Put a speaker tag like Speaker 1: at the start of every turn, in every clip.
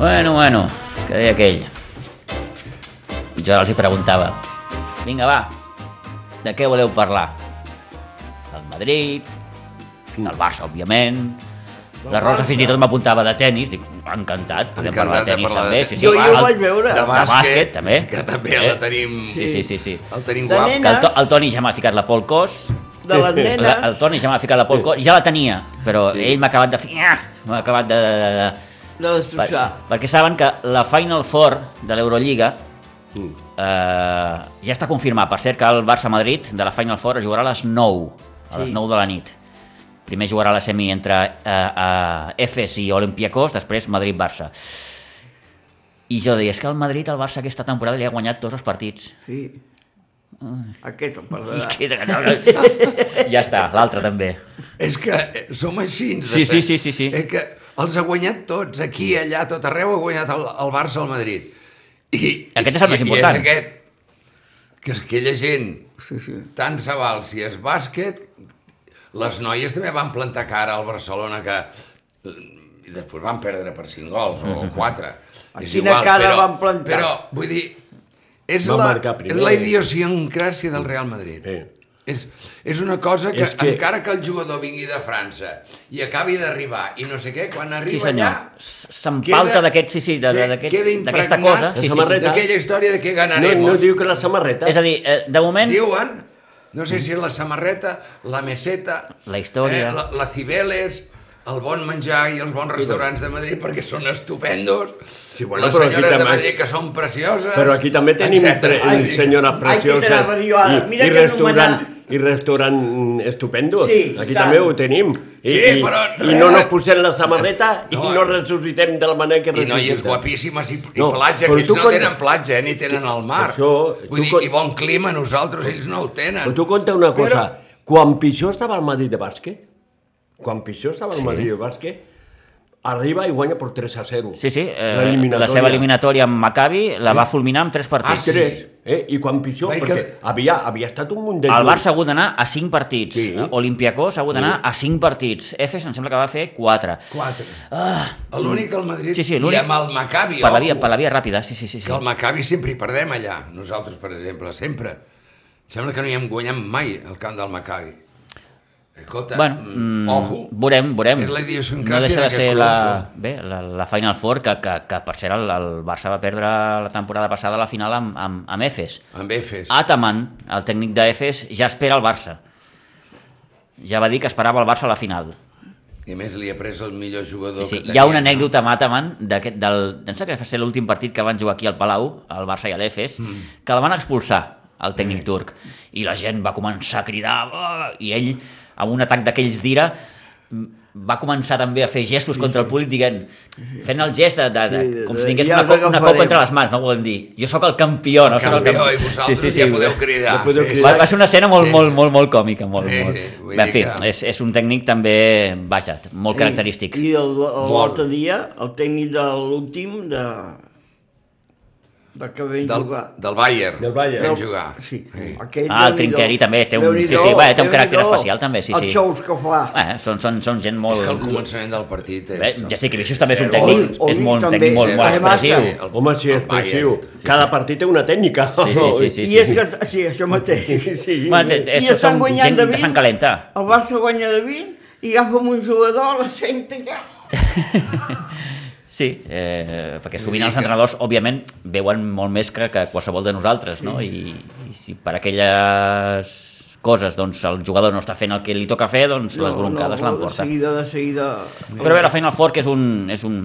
Speaker 1: Bueno, bueno, què deia aquell? Jo els hi preguntava, vinga va, de què voleu parlar? Del Madrid, del Barça, òbviament, la Rosa fins i tot m'apuntava de tennis, dic, encantat, podem parlar de tennis també. Sí, sí,
Speaker 2: Jo- jo
Speaker 1: el-
Speaker 2: el vaig veure.
Speaker 1: De bàsquet, també.
Speaker 2: Que també
Speaker 1: Eh?
Speaker 2: el tenim...
Speaker 1: Sí, sí, sí. sí.
Speaker 2: El tenim
Speaker 3: De
Speaker 2: guap.
Speaker 3: nen-
Speaker 1: Que el, to, el Toni ja m'ha ficat la por al cos,
Speaker 3: de les nenes.
Speaker 1: la, el Toni ja m'ha ficat la por al cos, ja la tenia, però ell m'ha acabat de... fi- ah, M'ha acabat de... de, de, de
Speaker 3: La
Speaker 1: per,
Speaker 3: destrossar.
Speaker 1: perquè saben que la Final Four de l'Eurolliga
Speaker 2: Mm.
Speaker 1: eh, ja està confirmat. Per cert, que el Barça-Madrid de la Final Four es jugarà a les 9, a les
Speaker 3: Sí.
Speaker 1: 9 de la nit. Primer jugarà la semi entre eh, eh, Efes i Olympiacos, després Madrid-Barça. I jo deia, és que el Madrid al Barça aquesta temporada li ha guanyat tots els partits.
Speaker 3: Sí. Aquest em
Speaker 1: I
Speaker 2: Ah.
Speaker 3: parlarà.
Speaker 1: queda que no... ja està, l'altre també.
Speaker 2: És que eh, som així. de
Speaker 1: Sí, sí,
Speaker 2: ser.
Speaker 1: sí, sí, sí.
Speaker 2: És que els ha guanyat tots, aquí, allà, a tot arreu, ha guanyat el, el Barça al Madrid. I,
Speaker 1: Aquest
Speaker 2: i-
Speaker 1: és el més
Speaker 2: i-
Speaker 1: important.
Speaker 2: I és aquest. Que és aquella gent,
Speaker 3: Sí, sí.
Speaker 2: tant se val si és bàsquet, les noies també van plantar cara al Barcelona que i després van perdre per 5 gols o 4. És
Speaker 3: Quina cara van plantar?
Speaker 2: Però, vull dir, és,
Speaker 4: Van
Speaker 2: la,
Speaker 4: marcar primer.
Speaker 2: és la idiosincràsia del Real Madrid.
Speaker 4: Eh.
Speaker 2: És, és una cosa que,
Speaker 4: És que-
Speaker 2: encara que el jugador vingui de França i acabi d'arribar i no sé què, quan arriba
Speaker 1: Sí, senyor.
Speaker 2: allà...
Speaker 1: S- S'empalta d'aquest, sí, sí, de- de- d'aquest-
Speaker 2: queda
Speaker 1: d'aquesta
Speaker 2: impregnat
Speaker 1: cosa. Sí, sí, sí.
Speaker 4: samarreta.
Speaker 2: D'aquella història de que
Speaker 4: No,
Speaker 2: ganaremos.
Speaker 4: no diu que la samarreta...
Speaker 1: És a dir, eh, de moment...
Speaker 2: Diuen, no sé si és la samarreta, la meseta...
Speaker 1: La història.
Speaker 2: Eh, la, la Cibeles, el bon menjar i els bons restaurants de Madrid perquè són estupendos. Sí,
Speaker 4: bueno,
Speaker 2: Les
Speaker 4: però aquí
Speaker 2: senyores de
Speaker 4: també-
Speaker 2: Madrid que són precioses.
Speaker 4: Però aquí també tenim
Speaker 2: etcètera.
Speaker 4: tre,
Speaker 2: Vull dir,
Speaker 3: Ai, que te
Speaker 4: senyores
Speaker 3: la
Speaker 4: precioses
Speaker 3: radio ara. Mira
Speaker 4: i, i,
Speaker 3: que
Speaker 4: restaurant,
Speaker 3: anomenat.
Speaker 4: i restaurant estupendo.
Speaker 3: Sí,
Speaker 4: Aquí
Speaker 3: tant.
Speaker 4: també ho tenim. I,
Speaker 2: Sí,
Speaker 4: i,
Speaker 2: però
Speaker 4: I
Speaker 2: res.
Speaker 4: no nos posem la samarreta i
Speaker 2: No. eh.
Speaker 4: no, ressuscitem de la manera que
Speaker 2: I
Speaker 4: ressuscita.
Speaker 2: noies guapíssimes i, i
Speaker 4: No,
Speaker 2: platja,
Speaker 4: però
Speaker 2: que ells
Speaker 4: tu
Speaker 2: no
Speaker 4: quan-
Speaker 2: tenen platja, eh, ni tenen el mar.
Speaker 4: Això, tu
Speaker 2: Vull dir,
Speaker 4: quan-
Speaker 2: i bon clima nosaltres, ells no el tenen.
Speaker 4: Però tu conta una cosa. Quan pitjor estava el Madrid de bàsquet, quan pitjor estava el Madrid de bàsquet, arriba i guanya per 3 a 0.
Speaker 1: Sí, sí, eh, la seva eliminatòria amb Maccabi la va fulminar amb 3
Speaker 2: Ah,
Speaker 1: partits.
Speaker 2: sí.
Speaker 4: 3, eh? I quan pitjor,
Speaker 2: Vaig
Speaker 4: perquè
Speaker 2: que-
Speaker 4: havia, havia estat un munt de
Speaker 1: El
Speaker 4: lluny.
Speaker 1: Barça ha hagut d'anar a 5 partits.
Speaker 4: Sí.
Speaker 1: Eh, Olympiacos ha hagut d'anar a 5 partits. Efes em sembla que va fer 4.
Speaker 2: Quatre. Ah, L'únic al Madrid
Speaker 1: Sí, sí,
Speaker 2: i
Speaker 1: l'únic-
Speaker 2: amb el Maccabi.
Speaker 1: Per la
Speaker 2: ojo.
Speaker 1: via, per la via ràpida, sí, sí, sí. sí.
Speaker 2: Que al Maccabi sempre hi perdem allà, nosaltres, per exemple, sempre. Em sembla que no hi hem guanyat mai el camp del Maccabi. Escolta,
Speaker 1: Bueno,
Speaker 2: mm,
Speaker 1: mm,
Speaker 2: ojo.
Speaker 1: veurem, veurem.
Speaker 2: És la idiosincràsia
Speaker 1: No deixa de
Speaker 2: d'aquest
Speaker 1: ser
Speaker 2: club, eh?
Speaker 1: la, bé, la, la Final Four, que, que, que per cert el, el Barça va perdre la temporada passada la final amb, amb, amb Efes.
Speaker 2: Amb Efes.
Speaker 1: Ataman, el tècnic d'Efes, ja espera el Barça. Ja va dir que esperava el Barça a la final.
Speaker 2: I a més li ha pres el millor jugador
Speaker 1: Sí, sí.
Speaker 2: que tenia.
Speaker 1: Hi ha una anècdota amb Ataman, d'aquest- del, em sembla que va ser l'últim partit que van jugar aquí al Palau, al Barça i a l'Efes, mm. que el van expulsar,
Speaker 2: Mm.
Speaker 1: el tècnic turc. I la gent va començar a cridar, "Ah!", i ell, amb un atac d'aquells d'ira, m- va començar també a fer gestos contra el públic dient, fent el gest de, de, de
Speaker 3: Sí,
Speaker 1: com
Speaker 3: de-
Speaker 1: si tingués
Speaker 3: ja
Speaker 1: una,
Speaker 3: us
Speaker 1: cop, una copa
Speaker 3: agafarem.
Speaker 1: entre les mans, no volem dir, jo sóc el campió, no sóc el
Speaker 2: Campió,
Speaker 1: campió.
Speaker 2: i vosaltres ja podeu cridar.
Speaker 4: Ja podeu
Speaker 2: Sí,
Speaker 4: cridar.
Speaker 1: Va, va ser una escena molt,
Speaker 2: Sí.
Speaker 1: molt, molt, molt còmica. Molt,
Speaker 2: Sí,
Speaker 1: molt.
Speaker 2: vull
Speaker 1: Bé,
Speaker 2: dir
Speaker 1: en fi,
Speaker 2: que-
Speaker 1: és, és un tècnic també, vaja, molt característic.
Speaker 3: I, i el- l'altre dia, el tècnic de l'últim de... de que vam
Speaker 2: Del,
Speaker 3: jugar.
Speaker 2: del Bayern.
Speaker 4: Del Bayern.
Speaker 2: Vam jugar.
Speaker 3: Sí. Aquell,
Speaker 1: Ah, el
Speaker 3: Déu-n'hi-do.
Speaker 1: Trinqueri també té un-
Speaker 3: Déu-n'hi-do,
Speaker 1: sí, sí, va, té un caràcter
Speaker 3: Déu-n'hi-do.
Speaker 1: especial també, sí, sí.
Speaker 3: Els xous que fa.
Speaker 1: Eh, són, són, són gent molt...
Speaker 2: És que al començament del partit...
Speaker 1: Bé, ja sé que Vixius també és un
Speaker 2: Zero.
Speaker 1: tècnic,
Speaker 3: Oli-
Speaker 1: és
Speaker 3: Oli
Speaker 1: molt, un
Speaker 3: també,
Speaker 1: tècnic molt,
Speaker 2: zero.
Speaker 1: molt
Speaker 3: Además,
Speaker 1: expressiu.
Speaker 2: sí, el-
Speaker 4: Home, sí,
Speaker 2: el
Speaker 4: expressiu.
Speaker 2: Bayern. Sí,
Speaker 4: Cada partit té una tècnica.
Speaker 1: Sí, sí, sí, sí,
Speaker 3: I
Speaker 1: sí.
Speaker 3: és que... Sí, això mateix.
Speaker 4: sí, sí.
Speaker 1: Home, t- t-
Speaker 3: I
Speaker 1: és-
Speaker 3: estan
Speaker 1: són
Speaker 3: guanyant
Speaker 1: gent
Speaker 3: de
Speaker 1: que
Speaker 3: vint.
Speaker 1: s'han calenta.
Speaker 3: El Barça guanya de 20 i agafa un jugador, la senta i ja...
Speaker 1: Sí, eh, perquè sovint
Speaker 2: dir
Speaker 1: els
Speaker 2: que-
Speaker 1: entrenadors, òbviament, veuen molt més que, que qualsevol de nosaltres, no? I, i si per aquelles coses doncs, el jugador no està fent el que li toca fer, doncs les broncades
Speaker 3: no,
Speaker 1: l'emporten.
Speaker 3: De seguida, de seguida...
Speaker 1: Però bé, la Final Four, que és un, és un,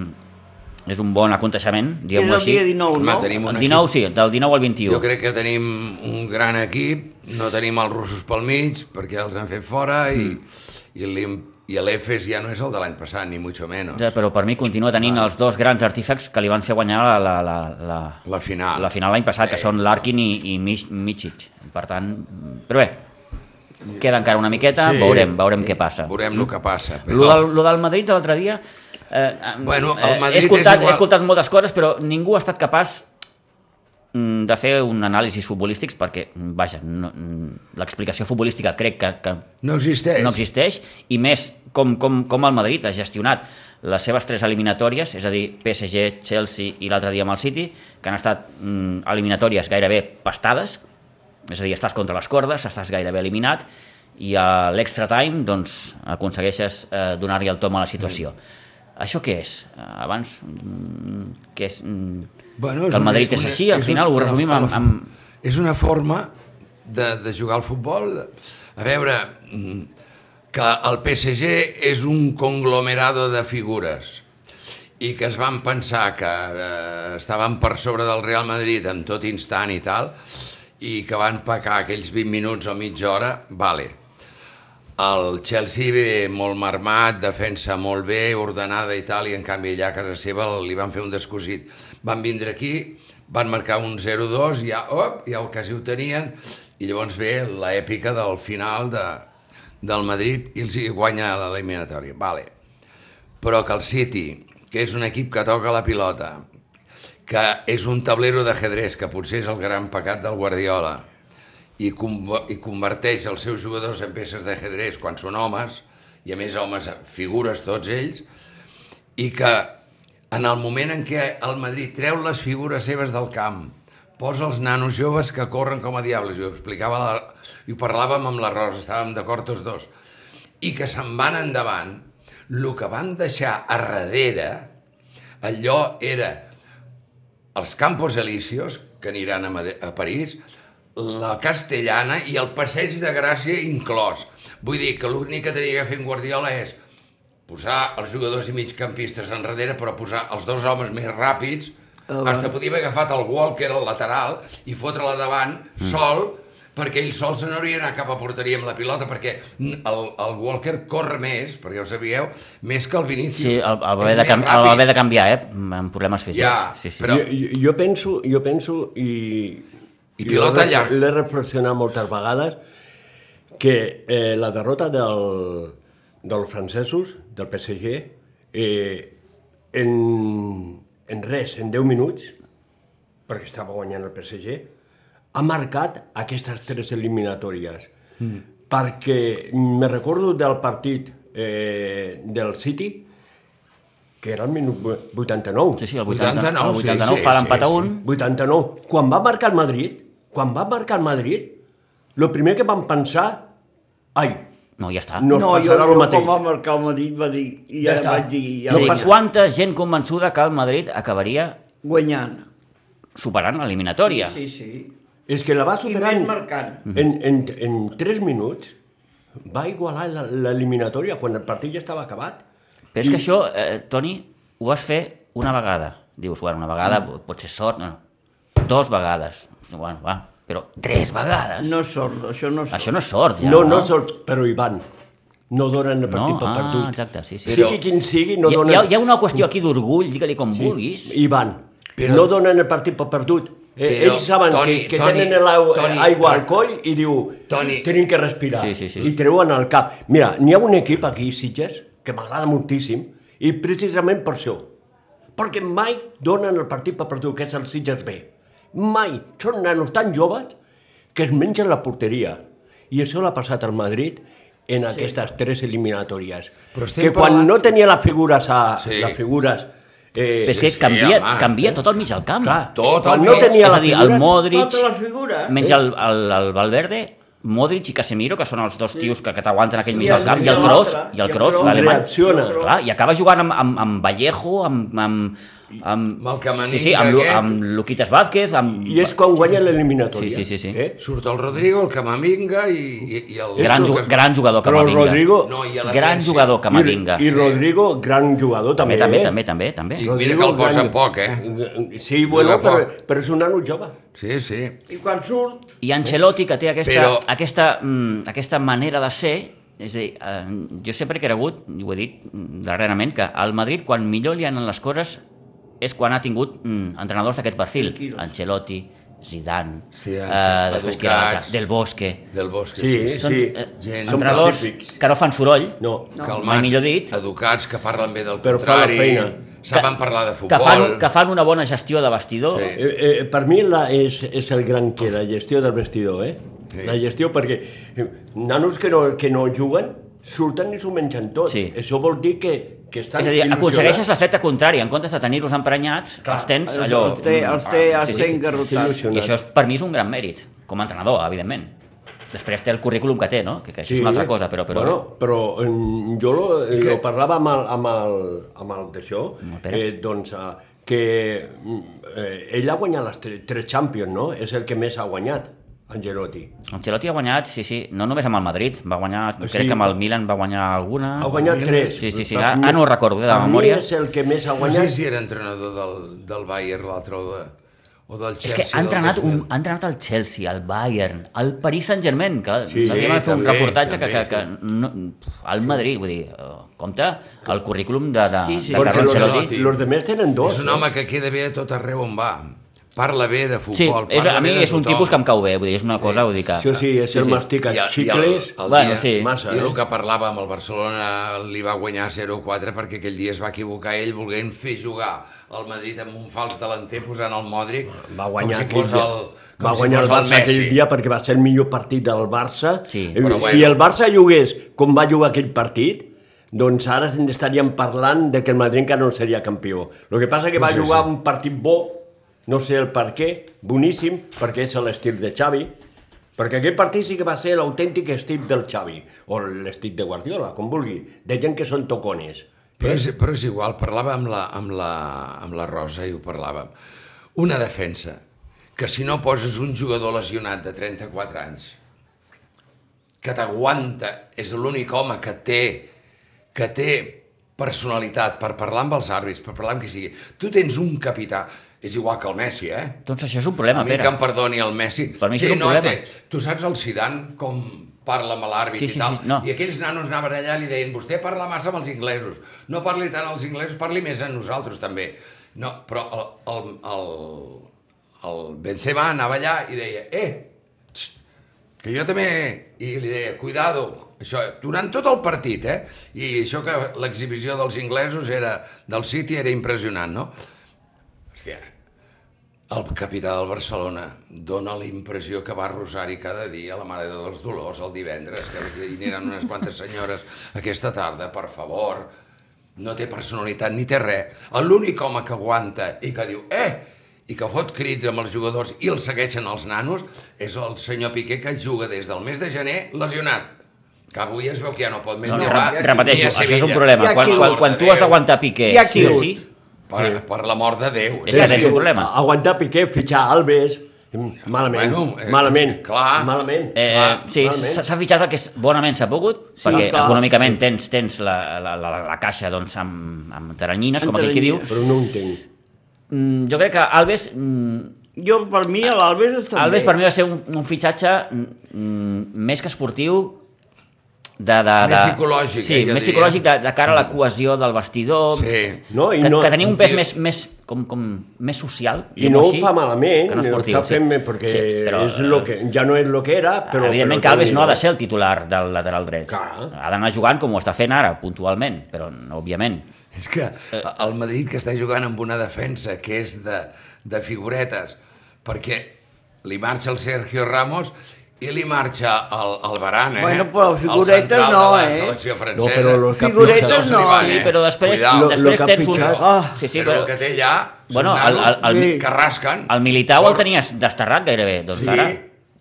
Speaker 1: és un bon aconteixement,
Speaker 3: És
Speaker 1: diguem-ho
Speaker 3: el
Speaker 1: així.
Speaker 3: dia 19,
Speaker 2: Home,
Speaker 3: no?
Speaker 2: tenim un
Speaker 1: El
Speaker 2: equip
Speaker 1: 19, sí, del 19 al 21.
Speaker 2: Jo crec que tenim un gran equip, no tenim els russos pel mig perquè els han fet fora i, i l'Im- i l'Efes ja no és el de l'any passat, ni mucho menos.
Speaker 1: Ja, però per mi continua tenint els dos grans artífecs que li van fer guanyar la, la, la, la,
Speaker 2: La final. Eh,
Speaker 1: la final l'any passat, que
Speaker 2: Sí.
Speaker 1: són Larkin i, i Mich- Michic. Per tant, però bé, queda encara una miqueta,
Speaker 2: Sí.
Speaker 1: veurem, veurem què passa.
Speaker 2: Veurem el que passa.
Speaker 1: Lo
Speaker 2: Però
Speaker 1: del, lo del Madrid de l'altre dia... Eh, eh,
Speaker 2: Bueno, el
Speaker 1: eh,
Speaker 2: Madrid
Speaker 1: he,
Speaker 2: és
Speaker 1: escoltat,
Speaker 2: igual.
Speaker 1: he escoltat moltes coses, però ningú ha estat capaç mm, de fer un anàlisi futbolístics perquè, mm, vaja, no, mm, l'explicació futbolística crec que, que
Speaker 2: no existeix.
Speaker 1: no existeix i més com, com, com el Madrid ha gestionat les seves tres eliminatòries, és a dir, PSG, Chelsea i l'altre dia amb el City, que han estat mm, eliminatòries gairebé pastades, és a dir, estàs contra les cordes, estàs gairebé eliminat, i a l'extra time doncs, aconsegueixes eh, donar-li el tom a la situació. Això què és? Eh, Abans, mm, que és... Mm,
Speaker 2: Bueno, és
Speaker 1: que el
Speaker 2: una-
Speaker 1: Madrid és
Speaker 2: una-
Speaker 1: així, al
Speaker 2: és
Speaker 1: final ho
Speaker 2: una-
Speaker 1: resumim
Speaker 2: una-
Speaker 1: amb- amb-
Speaker 2: És una forma de, de jugar al futbol. de- A veure, mm, que el PSG és un conglomerado de figures i que es van pensar que eh, estaven per sobre del Real Madrid en tot instant i tal, i que van pecar aquells 20 minuts o mitja hora, vale. El Chelsea ve molt marmat, defensa molt bé, ordenada i tal, i en canvi allà a casa seva li van fer un descosit. Van vindre aquí, van marcar un 0-2, ja, op, ja ho quasi ho tenien, i llavors ve l'èpica del final de, del Madrid i els hi guanya l'eliminatòria. Vale. Però que el City, que és un equip que toca la pilota, que és un tablero d'ajedrez, que potser és el gran pecat del Guardiola, i, convo- i converteix els seus jugadors en peces d'ajedrez quan són homes, i a més homes, figures tots ells, i que en el moment en què el Madrid treu les figures seves del camp, posa els nanos joves que corren com a diables, i ho, explicava la, i ho parlàvem amb la Rosa, estàvem d'acord tots dos, i que se'n van endavant, el que van deixar a darrere, allò era els Campos Elíseos, que aniran a, Madri a París, la Castellana i el Passeig de Gràcia inclòs. Vull dir que l'únic que tenia que fer en Guardiola és posar els jugadors i migcampistes enrere, però posar els dos homes més ràpids, ah,
Speaker 3: va.
Speaker 2: hasta podíem haver agafat el Walker al lateral i fotre-la davant,
Speaker 1: Mm.
Speaker 2: sol, perquè ell sol se n'hauria d'anar cap a porteria amb la pilota, perquè el, el Walker corre més, perquè ho sabíeu, més que el Vinícius.
Speaker 1: sí, el, el, va
Speaker 2: És
Speaker 1: haver de,
Speaker 2: més
Speaker 1: cam- el va
Speaker 2: ràpid.
Speaker 1: haver de canviar, eh? Amb problemes físics.
Speaker 2: Ja,
Speaker 1: sí, sí.
Speaker 2: però-
Speaker 4: Jo, jo- jo penso, jo penso i...
Speaker 2: I pilota
Speaker 4: l'he-
Speaker 2: llarg.
Speaker 4: L'he reflexionat moltes vegades que eh, la derrota del, dels francesos, del PSG, eh, en, en res, en 10 minuts, perquè estava guanyant el PSG, ha marcat aquestes tres eliminatòries. Mm. Perquè me recordo del partit eh, del City, que era el minut 89.
Speaker 1: Sí, sí, el 80,
Speaker 2: 89,
Speaker 1: el
Speaker 2: sí,
Speaker 1: 89
Speaker 2: sí,
Speaker 1: fa
Speaker 2: sí,
Speaker 1: l'empat a
Speaker 2: sí.
Speaker 1: un.
Speaker 4: 89. Quan va marcar el Madrid, quan va marcar el Madrid, el primer que van pensar, ai,
Speaker 1: No, ja està.
Speaker 4: no, no
Speaker 3: jo,
Speaker 4: passarà
Speaker 3: jo
Speaker 4: el
Speaker 3: quan
Speaker 4: mateix.
Speaker 3: va marcar el Madrid va dir, i
Speaker 4: Ja
Speaker 3: ja,
Speaker 4: està.
Speaker 3: vaig dir, ja
Speaker 1: És a dir,
Speaker 3: vaig
Speaker 1: quanta gent convençuda que el Madrid acabaria
Speaker 3: guanyant.
Speaker 1: superant l'eliminatòria.
Speaker 3: Sí, sí.
Speaker 4: És que la va
Speaker 3: I
Speaker 4: superar
Speaker 3: més
Speaker 4: en,
Speaker 3: marcant.
Speaker 4: en, en, en 3 minuts, va igualar la- l'eliminatòria quan el partit ja estava acabat.
Speaker 1: Però és que això, eh, Toni, ho vas fer una vegada. Dius, bueno, una vegada pot ser sort, no, no. Dos vegades. Bueno, va, però tres vegades.
Speaker 3: No és sort, això no és sort.
Speaker 1: Això no és sort, ja.
Speaker 4: no, no, sort, però hi van. No donen el partit
Speaker 1: No,
Speaker 4: per
Speaker 1: ah,
Speaker 4: perdut.
Speaker 1: exacte, sí, sí.
Speaker 4: Sigui quin sigui, no
Speaker 1: hi,
Speaker 4: donen...
Speaker 1: hi, ha, hi ha una qüestió aquí d'orgull, digue-li com sí. vulguis.
Speaker 4: I van.
Speaker 2: Però-
Speaker 4: no donen el partit per perdut. Eh,
Speaker 2: Però,
Speaker 4: Ells saben
Speaker 2: Toni,
Speaker 4: que, que
Speaker 2: Toni,
Speaker 4: tenen
Speaker 2: Toni,
Speaker 4: l'aigua
Speaker 2: Toni.
Speaker 4: al coll i diu,
Speaker 2: Toni.
Speaker 4: tenim que respirar.
Speaker 1: Sí, sí, sí.
Speaker 4: I treuen el cap. Mira, n'hi ha un equip aquí, Sitges, que m'agrada moltíssim, i precisament per això. Perquè mai donen el partit per perdut, que és el Sitges B. Mai. Són nanos tan joves que es mengen la porteria. I això l'ha passat al Madrid en aquestes tres eliminatòries.
Speaker 2: Però estem
Speaker 4: Que quan
Speaker 2: parlant-
Speaker 4: no tenia les figures a...
Speaker 2: Sí.
Speaker 4: Les figures... Eh,
Speaker 1: Però és que
Speaker 2: sí,
Speaker 1: canvia,
Speaker 2: home. eh.
Speaker 1: canvia tot el mig del camp.
Speaker 4: Clar,
Speaker 2: Tot
Speaker 4: quan
Speaker 2: el
Speaker 4: no
Speaker 2: mig.
Speaker 4: tenia
Speaker 1: és
Speaker 4: la
Speaker 1: a dir,
Speaker 4: figura,
Speaker 1: el Modric,
Speaker 3: Tota la figura.
Speaker 1: menys el, el, el Valverde, Modric i Casemiro, que són els dos tios que, que t'aguanten aquell
Speaker 3: Sí,
Speaker 1: mig del camp, i
Speaker 3: i
Speaker 1: el
Speaker 3: el
Speaker 1: Kroos,
Speaker 3: altre,
Speaker 1: i el Kroos, l'alemany.
Speaker 4: Reacciona.
Speaker 3: i el Kroos.
Speaker 1: Clar, i acaba jugant amb, amb, amb Vallejo, amb... amb, amb
Speaker 2: Amb el Camavinga
Speaker 1: sí, sí, amb, Lu-
Speaker 2: aquest.
Speaker 1: amb Luquitas Vázquez, amb...
Speaker 4: I és quan guanya l'eliminatòria.
Speaker 1: Sí, sí, sí, sí.
Speaker 4: Eh?
Speaker 2: Surt el Rodrigo, el Camavinga i, i, i el...
Speaker 1: Gran, ju
Speaker 2: Lucas-
Speaker 1: gran jugador
Speaker 4: Però
Speaker 1: Camavinga.
Speaker 4: Rodrigo...
Speaker 2: No, i a l'Asensio.
Speaker 1: Gran jugador Camavinga.
Speaker 4: I, I Rodrigo, gran jugador
Speaker 1: També, també,
Speaker 4: també. eh?
Speaker 1: també, també, també.
Speaker 2: I- Mira que el posa
Speaker 4: gran-
Speaker 2: poc, eh?
Speaker 4: Sí, bueno,
Speaker 2: Juga
Speaker 4: però,
Speaker 2: poc.
Speaker 4: però és un nano jove.
Speaker 2: Sí, sí.
Speaker 3: I quan surt,
Speaker 1: I Ancelotti, que té aquesta,
Speaker 2: Però-
Speaker 1: aquesta, mm, aquesta manera de ser, és a dir, eh, jo sempre he cregut, i ho he dit mm, darrerament, que al Madrid, quan millor li han les coses, és quan ha tingut mm, entrenadors d'aquest perfil.
Speaker 3: Tranquilos.
Speaker 1: Ancelotti, Zidane,
Speaker 2: Sí,
Speaker 1: eh, després qui era l'altre?
Speaker 2: Educats.
Speaker 1: Del Bosque. eh,
Speaker 2: Del Bosque,
Speaker 4: Sí,
Speaker 2: sí, sí.
Speaker 4: sí.
Speaker 2: gent-
Speaker 1: entrenadors
Speaker 4: Són pacífics.
Speaker 1: que no fan soroll,
Speaker 4: No.
Speaker 1: mai millor dit.
Speaker 2: educats, que parlen bé del
Speaker 4: Però fan la
Speaker 2: contrari,
Speaker 4: feina.
Speaker 2: saben parlar de
Speaker 1: que
Speaker 2: futbol.
Speaker 1: fan, que fan una bona gestió de vestidor,
Speaker 2: Sí.
Speaker 4: Eh, eh, per mi la, és, és el gran que, la gestió del vestidor, eh?
Speaker 2: Sí.
Speaker 4: La gestió, perquè eh, nanos que no, que no juguen surten i s'ho mengen tot.
Speaker 1: Sí.
Speaker 4: Això vol dir que, que estan
Speaker 1: És a dir,
Speaker 4: il·lusionats.
Speaker 1: aconsegueixes l'efecte contrari, en comptes de tenir-los emprenyats, els tens
Speaker 3: els,
Speaker 1: allò...
Speaker 3: els té, els té,
Speaker 1: Ah,
Speaker 3: els té engarrotats.
Speaker 4: Il·lusionats.
Speaker 1: I això és, per mi és un gran mèrit, com a entrenador, evidentment. Després té el currículum que té, no? Que, que això sí. és una altra cosa, però... però
Speaker 4: Bueno, però mm, jo lo,
Speaker 2: que-
Speaker 4: lo parlava amb el, amb el, amb el d'això,
Speaker 1: el Pere.
Speaker 4: eh, doncs, eh, que mm, eh, ell ha guanyat les tre- tres Champions, no? És el que més ha guanyat, Angelotti.
Speaker 1: Ancelotti ha guanyat, sí, sí, no només amb el Madrid, va guanyar, sí. crec que amb el Milan va guanyar alguna...
Speaker 2: Ah,
Speaker 4: Ha guanyat tres.
Speaker 1: Sí, sí, sí, ara- ara no ho recordo, eh, de
Speaker 4: Per mi
Speaker 1: memòria.
Speaker 4: és el que més ha
Speaker 2: No sé
Speaker 4: guanyat.
Speaker 2: si era entrenador del, del Bayern l'altre o, de, o del
Speaker 1: És
Speaker 2: Chelsea.
Speaker 1: que ha entrenat,
Speaker 2: del
Speaker 1: un, ha entrenat el Chelsea, el Bayern, el Paris Saint-Germain, que sí,
Speaker 4: Sí,
Speaker 1: li va fer un
Speaker 2: també,
Speaker 1: reportatge que, que,
Speaker 2: també.
Speaker 1: que no, al Madrid, vull dir, eh, compte el currículum de, de,
Speaker 3: Sí, sí.
Speaker 1: de
Speaker 4: Perquè
Speaker 1: Carlo
Speaker 4: los,
Speaker 1: Ancelotti.
Speaker 4: los, los demés tenen dos. eh?
Speaker 2: És un
Speaker 4: no?
Speaker 2: home que queda bé a tot arreu on va. Parla bé de futbol.
Speaker 1: Sí, és,
Speaker 2: parla
Speaker 1: a mi
Speaker 2: bé de
Speaker 1: és un
Speaker 2: tothom.
Speaker 1: tipus que em cau bé, vull dir, és una cosa, vull dir que...
Speaker 4: Això sí, és sí, el sí. mastic
Speaker 2: I
Speaker 4: a
Speaker 2: el- i el-
Speaker 4: xicles.
Speaker 2: el
Speaker 1: Bueno,
Speaker 2: dia-
Speaker 1: sí.
Speaker 4: Massa,
Speaker 2: I el
Speaker 4: eh?
Speaker 2: que parlava amb el Barcelona li va guanyar 0-4 perquè aquell dia es va equivocar ell volent fer jugar al Madrid amb un fals delanter posant el Modric
Speaker 4: Va guanyar,
Speaker 2: com si fos
Speaker 4: aquell
Speaker 2: el,
Speaker 4: dia.
Speaker 2: com
Speaker 4: va
Speaker 2: si
Speaker 4: guanyar
Speaker 2: fos
Speaker 4: el Barça
Speaker 2: Messi.
Speaker 4: aquell dia perquè va ser el millor partit del Barça.
Speaker 1: Sí,
Speaker 4: Eh,
Speaker 2: però
Speaker 4: si
Speaker 2: bueno.
Speaker 4: el Barça jugués com va jugar aquell partit, doncs ara en estaríem parlant de que el Madrid encara no seria campió. El que passa que va jugar un partit bo, no sé el per què, boníssim, perquè és l'estil de Xavi, perquè aquell partit sí que va ser l'autèntic estil del Xavi, o l'estil de Guardiola, com vulgui. Deien que són tocones.
Speaker 2: Però és, però és igual, parlava amb la, amb, la, amb la Rosa i ho parlàvem. Una defensa, que si no poses un jugador lesionat de 34 anys, que t'aguanta, és l'únic home que té, que té personalitat per parlar amb els àrbits, per parlar amb qui sigui. Tu tens un capità, és igual que el Messi, eh?
Speaker 1: Doncs això és un problema,
Speaker 2: A mi que
Speaker 1: Pere.
Speaker 2: em perdoni el Messi.
Speaker 1: Per mi això és un problema.
Speaker 2: Té, tu saps el Zidane com parla amb l'àrbit
Speaker 1: Sí, sí,
Speaker 2: i tal?
Speaker 1: sí, no.
Speaker 2: I aquells nanos anaven allà i li deien vostè parla massa amb els inglesos, no parli tant als inglesos, parli més a nosaltres també. No, però el, el, el, el Benzema anava allà i deia eh, txt, que jo també... I li deia, cuidado, això, durant tot el partit, eh? I això que l'exhibició dels inglesos era, del City era impressionant, no? Hòstia, el capità del Barcelona dona la impressió que va a Rosari cada dia a la Mare de dos Dolors el divendres, que hi aniran unes quantes senyores aquesta tarda, per favor. No té personalitat ni té res. L'únic home que aguanta i que diu eh, i que fot crits amb els jugadors i els segueixen els nanos és el senyor Piqué que juga des del mes de gener lesionat. Que avui es veu que ja no pot més
Speaker 1: No,
Speaker 2: ni
Speaker 1: no,
Speaker 2: a
Speaker 1: rep-
Speaker 2: Barça,
Speaker 1: repeteixo,
Speaker 2: ni a
Speaker 1: això és
Speaker 2: Sevilla.
Speaker 1: un problema.
Speaker 3: Hi ha
Speaker 1: Quan,
Speaker 3: qui
Speaker 1: quan,
Speaker 2: ho-
Speaker 1: quan tu has d'aguantar Piqué,
Speaker 3: Hi ha
Speaker 1: sí
Speaker 3: qui
Speaker 1: o
Speaker 3: ho-
Speaker 1: sí,
Speaker 2: Per, per l'amor de Déu.
Speaker 1: És que tens un problema.
Speaker 4: Aguantar Piqué, fitxar Alves, malament,
Speaker 2: Bueno, eh,
Speaker 4: malament,
Speaker 2: clar.
Speaker 4: malament.
Speaker 1: eh, sí,
Speaker 4: malament.
Speaker 1: s'ha s'ha fitxat el que s- bonament s'ha pogut, perquè
Speaker 3: clar.
Speaker 1: econòmicament tens, tens la, la, la, la caixa doncs, amb, amb taranyines, com
Speaker 3: Amb
Speaker 1: aquell qui diu.
Speaker 3: taranyines.
Speaker 4: Però no ho entenc.
Speaker 1: Mm, jo crec que Alves, mm,
Speaker 3: Jo, per mi, l'Albes està
Speaker 1: Alves
Speaker 3: bé.
Speaker 1: per mi va ser un, un fitxatge mm, més que esportiu, de, de, de,
Speaker 2: Més psicològic,
Speaker 1: sí,
Speaker 2: eh, jo
Speaker 1: més
Speaker 2: diria.
Speaker 1: psicològic de, de cara a la cohesió del vestidor,
Speaker 2: Sí.
Speaker 4: No, i
Speaker 1: que,
Speaker 4: no-
Speaker 1: que tenia un pes
Speaker 2: Sí.
Speaker 1: més, més, com, com, més social.
Speaker 4: I
Speaker 1: diguem-ho
Speaker 4: no ho
Speaker 1: així,
Speaker 4: fa malament,
Speaker 1: que no esportiu,
Speaker 4: està fent bé, perquè és lo que, ja no és el que era, però...
Speaker 1: Ah, eh, Evidentment que
Speaker 4: però
Speaker 1: Alves no ha de
Speaker 4: Déu-n'hi-do.
Speaker 1: ser el titular del lateral dret.
Speaker 4: Clar.
Speaker 1: Ha d'anar jugant com ho està fent ara, puntualment, però òbviament.
Speaker 2: És que el Madrid que està jugant amb una defensa que és de, de figuretes, perquè li marxa el Sergio Ramos i li marxa el, el Baran, eh?
Speaker 3: Bueno, però
Speaker 2: El
Speaker 3: figuretes
Speaker 2: central
Speaker 3: no,
Speaker 2: de la
Speaker 3: eh?
Speaker 2: selecció
Speaker 4: No,
Speaker 2: francesa.
Speaker 4: però los que
Speaker 3: Figuretes
Speaker 4: ha
Speaker 2: Dos
Speaker 4: fitxat-
Speaker 3: no.
Speaker 2: li van,
Speaker 1: sí,
Speaker 2: eh?
Speaker 1: però després,
Speaker 2: Cuidao.
Speaker 4: Lo- lo
Speaker 1: després
Speaker 4: que ha
Speaker 1: tens un...
Speaker 4: fitxat-
Speaker 3: Ah.
Speaker 1: sí, sí,
Speaker 2: però,
Speaker 1: però,
Speaker 2: el que té allà són
Speaker 1: Bueno, el-
Speaker 2: nanos
Speaker 1: el- el-
Speaker 2: que rasquen.
Speaker 1: el Militao el
Speaker 2: Cor-
Speaker 1: tenies desterrat gairebé, doncs
Speaker 2: Sí,
Speaker 1: ara...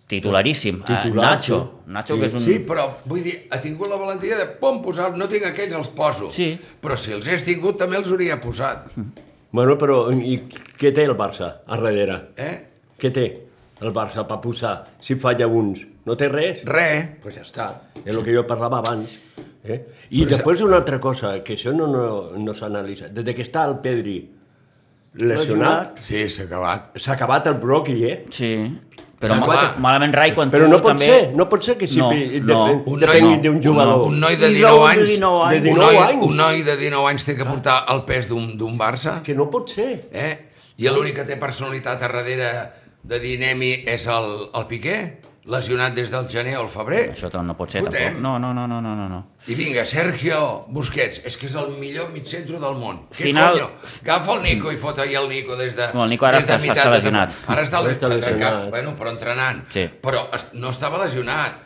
Speaker 1: Titularíssim. Titular,
Speaker 4: Titular,
Speaker 1: Nacho.
Speaker 4: sí.
Speaker 1: Nacho, que és un...
Speaker 2: Sí, però vull dir, ha tingut la valentia de pom, posar no tinc aquells, els poso.
Speaker 1: Sí.
Speaker 2: Però si els hagués tingut també els hauria posat.
Speaker 4: Bueno, però i què té el Barça a darrere?
Speaker 2: Eh?
Speaker 4: Què té el Barça per posar si falla uns? No té res?
Speaker 2: Re. eh?
Speaker 4: pues ja està, és el que jo parlava abans. Eh? I Però després una altra cosa, que això no, no, no s'analitza. Des de que està el Pedri lesionat,
Speaker 2: Sí, s'ha acabat.
Speaker 4: s'ha acabat el bròquil, eh?
Speaker 1: Sí. Però
Speaker 2: Sí,
Speaker 1: mal,
Speaker 2: clar.
Speaker 1: malament Rai quan
Speaker 4: Ah, Però
Speaker 1: tu
Speaker 4: no pot
Speaker 1: també...
Speaker 4: ser, no pot ser que si
Speaker 1: No,
Speaker 4: pi-
Speaker 1: no.
Speaker 4: depen-
Speaker 2: Un
Speaker 4: depengui
Speaker 2: noi-
Speaker 4: d'un
Speaker 2: un-
Speaker 4: jugador.
Speaker 2: Un noi de
Speaker 3: I
Speaker 2: 19
Speaker 3: de
Speaker 2: anys,
Speaker 3: 19
Speaker 4: anys.
Speaker 2: un,
Speaker 4: 19
Speaker 2: noi,
Speaker 4: anys.
Speaker 2: un noi de 19 anys té que portar el pes d'un d'un Barça.
Speaker 4: Que no pot ser.
Speaker 2: Eh? I l'únic que té personalitat a darrere de Dinemi és el, el Piqué, lesionat des del gener al febrer.
Speaker 1: Això tam- no pot ser,
Speaker 2: Fotem.
Speaker 1: tampoc. No, no, no, no, no, no, no.
Speaker 2: I vinga, Sergio Busquets, és que és el millor mig centre del món. Què
Speaker 1: Final-
Speaker 2: conyo? Agafa el Nico i fota ahir el Nico des de...
Speaker 1: No, el Nico ara
Speaker 2: des de
Speaker 1: està-
Speaker 2: meitat
Speaker 1: està
Speaker 2: de
Speaker 1: lesionat.
Speaker 2: temporada. Ara està,
Speaker 4: Ara
Speaker 2: està
Speaker 4: està
Speaker 2: lesionat.
Speaker 4: lesionat.
Speaker 2: Bueno, però entrenant.
Speaker 1: Sí.
Speaker 2: Però es, no estava lesionat.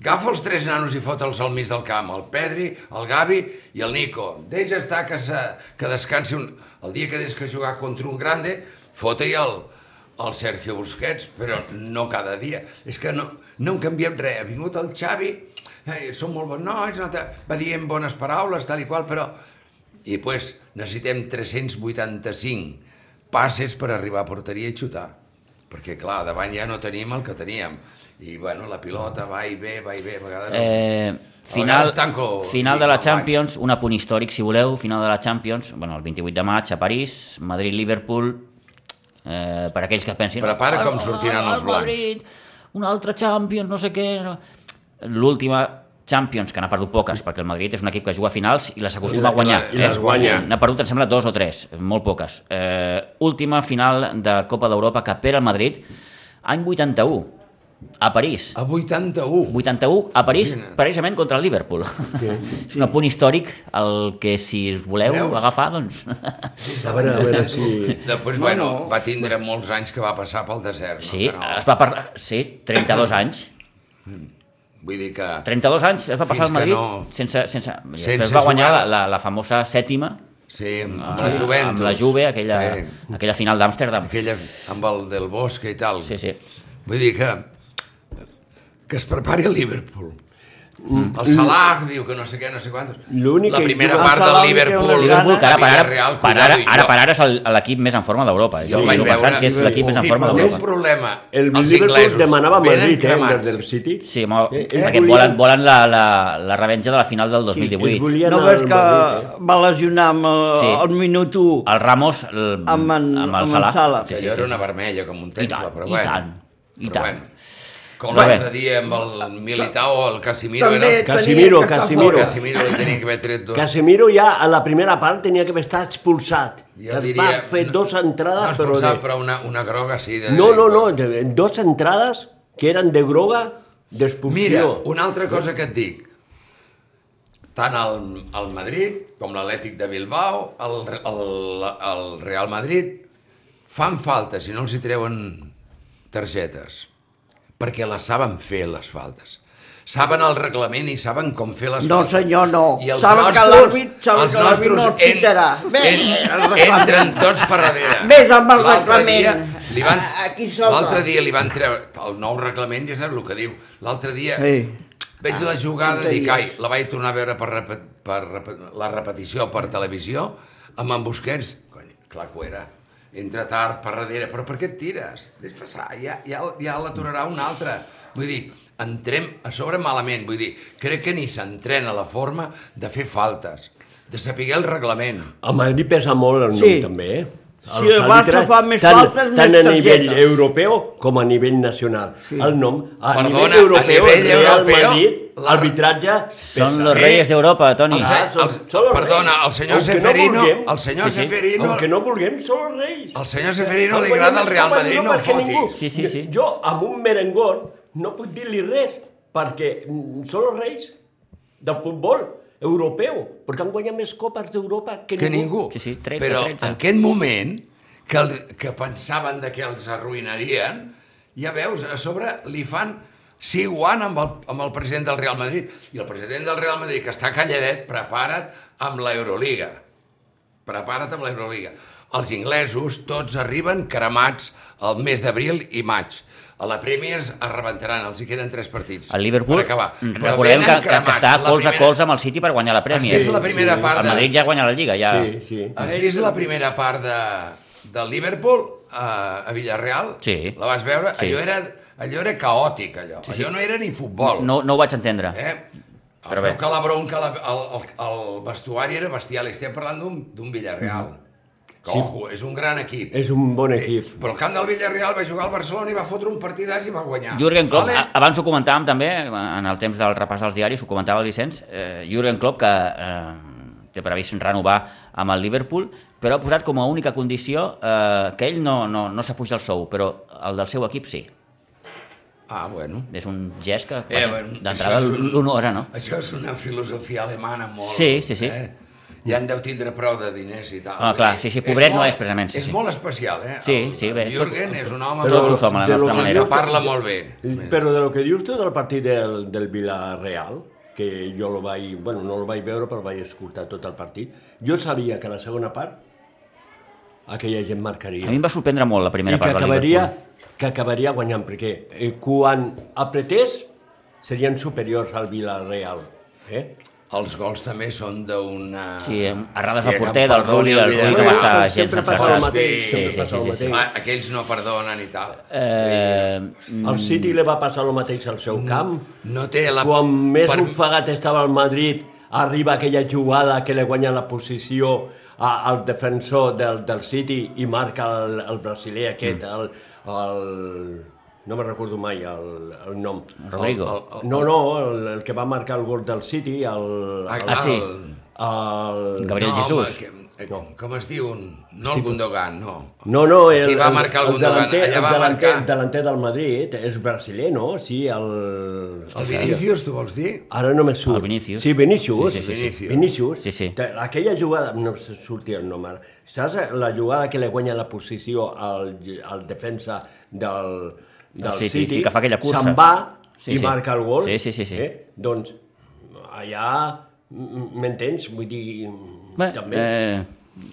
Speaker 2: Agafa els tres nanos i fota'ls al mig del camp, el Pedri, el Gavi i el Nico. Deixa estar que, se, que descansi un... El dia que tens que jugar contra un grande, fota-hi el, el Sergio Busquets, però no cada dia. És que no, no hem canviat res. Ha vingut el Xavi, eh, som molt bons nois, no te- va dient bones paraules, tal i qual, però... I pues, necessitem 385 passes per arribar a porteria i xutar. Perquè, clar, davant ja no tenim el que teníem. I, bueno, la pilota va i ve, va i ve, a vegades... Eh...
Speaker 1: Eh, final,
Speaker 2: vegades tanco
Speaker 1: final de la
Speaker 2: lliga,
Speaker 1: Champions, un apunt històric, si voleu, final de la Champions, bueno, el 28 de maig a París, Madrid-Liverpool, eh, per aquells que pensin...
Speaker 2: Prepara com
Speaker 1: "Ah,
Speaker 2: sortiran
Speaker 1: ah,
Speaker 2: els blancs."
Speaker 1: Madrid, una altra Champions, no sé què... no. L'última Champions, que n'ha perdut poques, perquè el Madrid és un equip que juga a finals i les acostuma a guanyar. eh?
Speaker 4: I les guanya.
Speaker 1: N'ha perdut, em sembla, dos o tres, molt poques. Eh, última final de Copa d'Europa que perd el Madrid any 81, a París.
Speaker 2: A 81.
Speaker 1: 81 a París,
Speaker 2: Imagina't.
Speaker 1: precisament contra el Liverpool. És un apunt històric el que, si us voleu
Speaker 2: Veus?
Speaker 1: agafar, doncs...
Speaker 4: A veure, a veure si...
Speaker 2: Després, no, bueno, no. va tindre molts anys que va passar pel desert.
Speaker 1: Sí,
Speaker 2: No? Però,
Speaker 1: es va parlar... Sí, 32 anys.
Speaker 2: vull dir que...
Speaker 1: 32 anys es va passar
Speaker 2: Fins
Speaker 1: al Madrid
Speaker 2: que no.
Speaker 1: sense... sense,
Speaker 2: Sense
Speaker 1: sense va guanyar la,
Speaker 2: jugada.
Speaker 1: la, la famosa sèptima
Speaker 2: Sí, amb, amb la Juventus.
Speaker 1: amb la Juve, aquella,
Speaker 2: Sí,
Speaker 1: aquella final d'Amsterdam.
Speaker 2: aquella, amb el del Bosque i tal.
Speaker 1: Sí, sí.
Speaker 2: Vull dir que... Que es prepari el Liverpool. El Salah diu que no sé què, no sé quantos.
Speaker 4: L'únic
Speaker 2: La
Speaker 4: que
Speaker 2: primera
Speaker 4: juga-
Speaker 2: part
Speaker 3: El
Speaker 2: del
Speaker 3: Salah diu que
Speaker 2: Liverpool.
Speaker 3: no
Speaker 1: El
Speaker 3: li
Speaker 1: Liverpool, que ara per ara,
Speaker 2: Villarreal,
Speaker 1: per ara,
Speaker 2: cuidado, i
Speaker 1: ara,
Speaker 2: jo-
Speaker 1: per ara és el- l'equip més en forma d'Europa.
Speaker 2: Jo
Speaker 1: Jo,
Speaker 2: el
Speaker 1: jo
Speaker 2: vaig
Speaker 1: pensant
Speaker 2: veure.
Speaker 1: que és l'equip més en forma
Speaker 2: Sí, però té
Speaker 1: d'Europa.
Speaker 2: un problema. Els
Speaker 4: El Liverpool
Speaker 2: inglesos
Speaker 4: demanava a
Speaker 2: venen
Speaker 4: Madrid, eh,
Speaker 2: cremats.
Speaker 4: des del City.
Speaker 1: Sí, home,
Speaker 4: Eh, ells
Speaker 1: perquè
Speaker 4: volien-
Speaker 1: volen, volen la, la, la revenja de la final del 2018.
Speaker 4: ells volien
Speaker 3: No
Speaker 4: el
Speaker 3: veus que
Speaker 4: Madrid, eh?
Speaker 3: va lesionar amb
Speaker 1: Sí.
Speaker 3: el, sí. el minut 1
Speaker 1: El Ramos el,
Speaker 3: Amb en-
Speaker 1: amb el
Speaker 3: amb en
Speaker 1: Salah.
Speaker 3: Salah.
Speaker 1: Sí, sí,
Speaker 2: Allò
Speaker 1: sí.
Speaker 2: era una vermella, com un
Speaker 1: I
Speaker 2: temple,
Speaker 1: tant,
Speaker 2: però
Speaker 1: i
Speaker 2: bueno.
Speaker 1: tant, i
Speaker 2: Però
Speaker 1: tant.
Speaker 2: bueno. Com
Speaker 1: Però bé.
Speaker 2: l'altre dia amb el Militao, el Casimiro,
Speaker 3: També
Speaker 2: era el
Speaker 3: tenia
Speaker 4: Casimiro,
Speaker 3: que estar
Speaker 4: Casimiro.
Speaker 2: El
Speaker 3: fora.
Speaker 2: Casimiro li tenia que haver tret dos.
Speaker 4: Casemiro ja a la primera part tenia que haver estat expulsat.
Speaker 2: Jo
Speaker 4: Es
Speaker 2: diria...
Speaker 4: Va fer dos
Speaker 2: no
Speaker 4: entrades,
Speaker 2: es
Speaker 4: però...
Speaker 2: posava,
Speaker 4: de-
Speaker 2: però una, una groga sí. De...
Speaker 4: No, no, no, de- dos entrades que eren de groga
Speaker 2: Mira,
Speaker 4: d'expulsió.
Speaker 2: una altra cosa que et dic. Tant el, el Madrid com l'Atlètic de Bilbao, el, el, el Real Madrid, fan falta si no els hi treuen targetes. Perquè les saben fer, les faltes. Saben el reglament i saben com fer les
Speaker 3: No,
Speaker 2: faltes.
Speaker 3: senyor, no.
Speaker 2: I els
Speaker 3: Saben que
Speaker 2: nostres-
Speaker 3: l'àrbit- saben
Speaker 2: els
Speaker 3: que l'àrbit no
Speaker 2: nostres
Speaker 3: els pitarà. Bé, el reglament.
Speaker 2: entren tots per darrere.
Speaker 3: Més amb el
Speaker 2: L'altre
Speaker 3: reglament.
Speaker 2: dia Li van,
Speaker 3: A- aquí sota.
Speaker 2: l'altre dia li van treure... El nou reglament, ja saps el que diu. L'altre dia
Speaker 3: Sí.
Speaker 2: Veig la jugada,
Speaker 3: Tonteries.
Speaker 2: dic, ai, la vaig tornar a veure per, repet, per repet, la repetició per televisió, amb en Busquets, cony, clar que ho era, entra tard, per darrere, però per què et tires? Deixa passar, ja, ja, ja l'aturarà un altre. Vull dir, entrem a sobre malament, vull dir, crec que ni s'entrena la forma de fer faltes, de saber el reglament.
Speaker 4: A Madrid pesa molt el nom,
Speaker 3: Sí.
Speaker 4: també, eh?
Speaker 3: Si el Barça
Speaker 4: àrbitres,
Speaker 3: fa més
Speaker 4: tant,
Speaker 3: faltes, més
Speaker 4: tant a nivell
Speaker 3: targetes.
Speaker 4: europeu com a nivell nacional. Sí. El nom, a
Speaker 2: Perdona,
Speaker 4: nivell
Speaker 2: a
Speaker 4: europeu,
Speaker 2: nivell
Speaker 4: el Real
Speaker 2: europeu,
Speaker 4: Madrid,
Speaker 2: la-
Speaker 4: l'arbitratge
Speaker 1: Són
Speaker 4: pesa.
Speaker 1: los
Speaker 2: Sí.
Speaker 1: reyes d'Europa, Toni.
Speaker 2: El,
Speaker 4: Ah,
Speaker 2: se-
Speaker 4: són-
Speaker 2: el,
Speaker 4: són els
Speaker 2: perdona, el
Speaker 4: reis.
Speaker 2: senyor
Speaker 4: Aunque no
Speaker 2: Seferino,
Speaker 4: vulguem.
Speaker 2: el senyor
Speaker 1: Sí, sí.
Speaker 2: Seferino,
Speaker 4: Aunque no vulguem, són els reis.
Speaker 2: el senyor Seferino
Speaker 4: No
Speaker 2: li
Speaker 4: podem
Speaker 2: agrada el
Speaker 4: estar
Speaker 2: Real
Speaker 4: per
Speaker 2: Madrid, no
Speaker 4: perquè ningú.
Speaker 2: fotis.
Speaker 1: Sí, sí, sí.
Speaker 4: Jo, amb un merengón, no puc dir-li res, perquè mm, són els reis del futbol europeu, perquè han guanyat més copes d'Europa que,
Speaker 2: que ningú.
Speaker 1: Sí, sí, 13,
Speaker 2: Però
Speaker 1: 13.
Speaker 2: en aquest moment, que, el, que pensaven de que els arruïnarien, ja veus, a sobre li fan sí, guant amb el, amb el president del Real Madrid. I el president del Real Madrid, que està calladet, prepara't amb l'Euroliga. Prepara't amb l'Euroliga. Els inglesos tots arriben cremats el mes d'abril i maig. A la Premiers es rebentaran, els hi queden tres partits.
Speaker 1: El Liverpool,
Speaker 2: per acabar.
Speaker 1: mm,
Speaker 2: Però
Speaker 1: recordem
Speaker 2: venen
Speaker 1: que, que, que
Speaker 2: cremats.
Speaker 1: està
Speaker 2: La
Speaker 1: cols a
Speaker 2: primera-
Speaker 1: cols amb el City per guanyar la Premier.
Speaker 2: Has vist la primera part
Speaker 1: El
Speaker 2: de...
Speaker 1: Madrid ja guanya la Lliga, ja...
Speaker 4: Sí, sí.
Speaker 2: Has vist la primera part de, del Liverpool a, a Villarreal?
Speaker 1: Sí.
Speaker 2: La vas veure?
Speaker 1: Sí.
Speaker 2: Allò, era, allò era caòtic, allò. Sí, sí. Allò no era ni futbol.
Speaker 1: No, no ho vaig entendre.
Speaker 2: Eh?
Speaker 1: Però
Speaker 2: Però
Speaker 1: bé.
Speaker 2: que la bronca, la, el, el, el vestuari era bestial. Estem parlant d'un d'un Villarreal.
Speaker 1: Mm-hmm.
Speaker 2: Que, ojo, és un gran equip.
Speaker 4: És un
Speaker 1: Eh,
Speaker 4: bon equip.
Speaker 2: Però el camp del Villarreal va jugar al Barcelona i va fotre un partidàs i va guanyar.
Speaker 1: Jürgen Klopp,
Speaker 2: Vale?
Speaker 1: a- abans ho comentàvem també, en el temps del repàs dels diaris, ho comentava el Vicenç, eh, Jürgen Klopp que eh, té previst renovar amb el Liverpool, però ha posat com a única condició eh, que ell no, no, no s'apuja el sou, però el del seu equip sí.
Speaker 2: Ah, bueno.
Speaker 1: És un gest que
Speaker 2: Eh,
Speaker 1: vaja,
Speaker 2: bueno,
Speaker 1: d'entrada
Speaker 2: això és un-
Speaker 1: l'honora, no?
Speaker 2: Això és una filosofia alemana molt...
Speaker 1: Sí, sí, sí.
Speaker 2: Eh? Ja en deu tindre prou de diners i tal.
Speaker 1: Ah,
Speaker 2: Vull
Speaker 1: clar,
Speaker 2: dir,
Speaker 1: sí, sí, pobret no
Speaker 2: molt-
Speaker 1: és, precisament, sí,
Speaker 2: és
Speaker 1: sí.
Speaker 2: molt especial, eh?
Speaker 1: Sí,
Speaker 2: El-
Speaker 1: sí, bé,
Speaker 2: el
Speaker 1: tot-
Speaker 2: Jürgen és un home...
Speaker 1: Tots ho
Speaker 2: molt-
Speaker 1: som a la
Speaker 4: de lo
Speaker 1: nostra
Speaker 4: que
Speaker 1: manera.
Speaker 4: jo-
Speaker 2: Que parla molt bé.
Speaker 4: Però de lo que dius tu del partit del, del Villarreal, que jo lo vaig, bueno, no el vaig veure, però vaig escoltar tot el partit, jo sabia que la segona part aquella gent marcaria.
Speaker 1: A mi em va sorprendre molt la
Speaker 4: I
Speaker 1: primera
Speaker 4: que
Speaker 1: part del
Speaker 4: acabaria,
Speaker 1: Liverpool.
Speaker 4: que acabaria guanyant, perquè eh, quan apretés serien superiors al Villarreal. Eh?
Speaker 2: Els gols també són d'una...
Speaker 1: Sí, em- errades al
Speaker 2: Hòstia, que em
Speaker 1: porter del
Speaker 2: perdoni
Speaker 1: Rudi,
Speaker 2: el
Speaker 1: el Rudi que va
Speaker 2: Villarreal.
Speaker 1: estar
Speaker 4: Sempre
Speaker 1: gens
Speaker 4: passa
Speaker 2: el
Speaker 1: encertat.
Speaker 2: mateix,
Speaker 4: sempre passa el mateix.
Speaker 2: Ah, aquells no perdonen i tal.
Speaker 1: Eh,
Speaker 4: Al City li va passar el mateix al
Speaker 1: Mm.
Speaker 4: seu camp.
Speaker 2: Mm, No té la...
Speaker 4: Quan més
Speaker 2: per-
Speaker 4: ofegat estava el Madrid, arriba aquella jugada que li guanya la posició a- al defensor del, del City i marca el, el brasiler aquest,
Speaker 2: Mm.
Speaker 4: el, el, no me recordo mai el, el nom.
Speaker 1: Rodrigo.
Speaker 4: El- No, no, el, el que va marcar el gol del City, el...
Speaker 2: Ah,
Speaker 4: el,
Speaker 1: Ah, sí.
Speaker 4: el
Speaker 1: Gabriel Jesús.
Speaker 2: Home, que, com, com es diu? No el Gundogan, no.
Speaker 4: No, no,
Speaker 2: Qui va marcar el, Gundogan?
Speaker 4: delanter,
Speaker 2: Allà va
Speaker 4: el delanter,
Speaker 2: marcar...
Speaker 4: el delanter del Madrid és brasiler, no? Sí, el...
Speaker 2: El Vinicius, tu vols dir?
Speaker 4: Ara no me surt.
Speaker 1: El Vinícius.
Speaker 4: Sí, Vinícius.
Speaker 1: Sí, sí,
Speaker 2: sí, sí.
Speaker 4: Vinícius.
Speaker 1: Sí, sí.
Speaker 4: Te- Aquella jugada, no se sortia el nom ara. Saps la jugada que li guanya la posició al, al defensa del, del
Speaker 1: El
Speaker 4: City,
Speaker 1: City, sí, que fa aquella cursa.
Speaker 4: Se'n va
Speaker 1: Sí,
Speaker 4: i
Speaker 1: sí.
Speaker 4: marca el gol.
Speaker 1: Sí, sí, sí, sí.
Speaker 4: Eh? Doncs allà, m- m'entens? Vull dir,
Speaker 1: Bé,
Speaker 4: també.
Speaker 1: eh,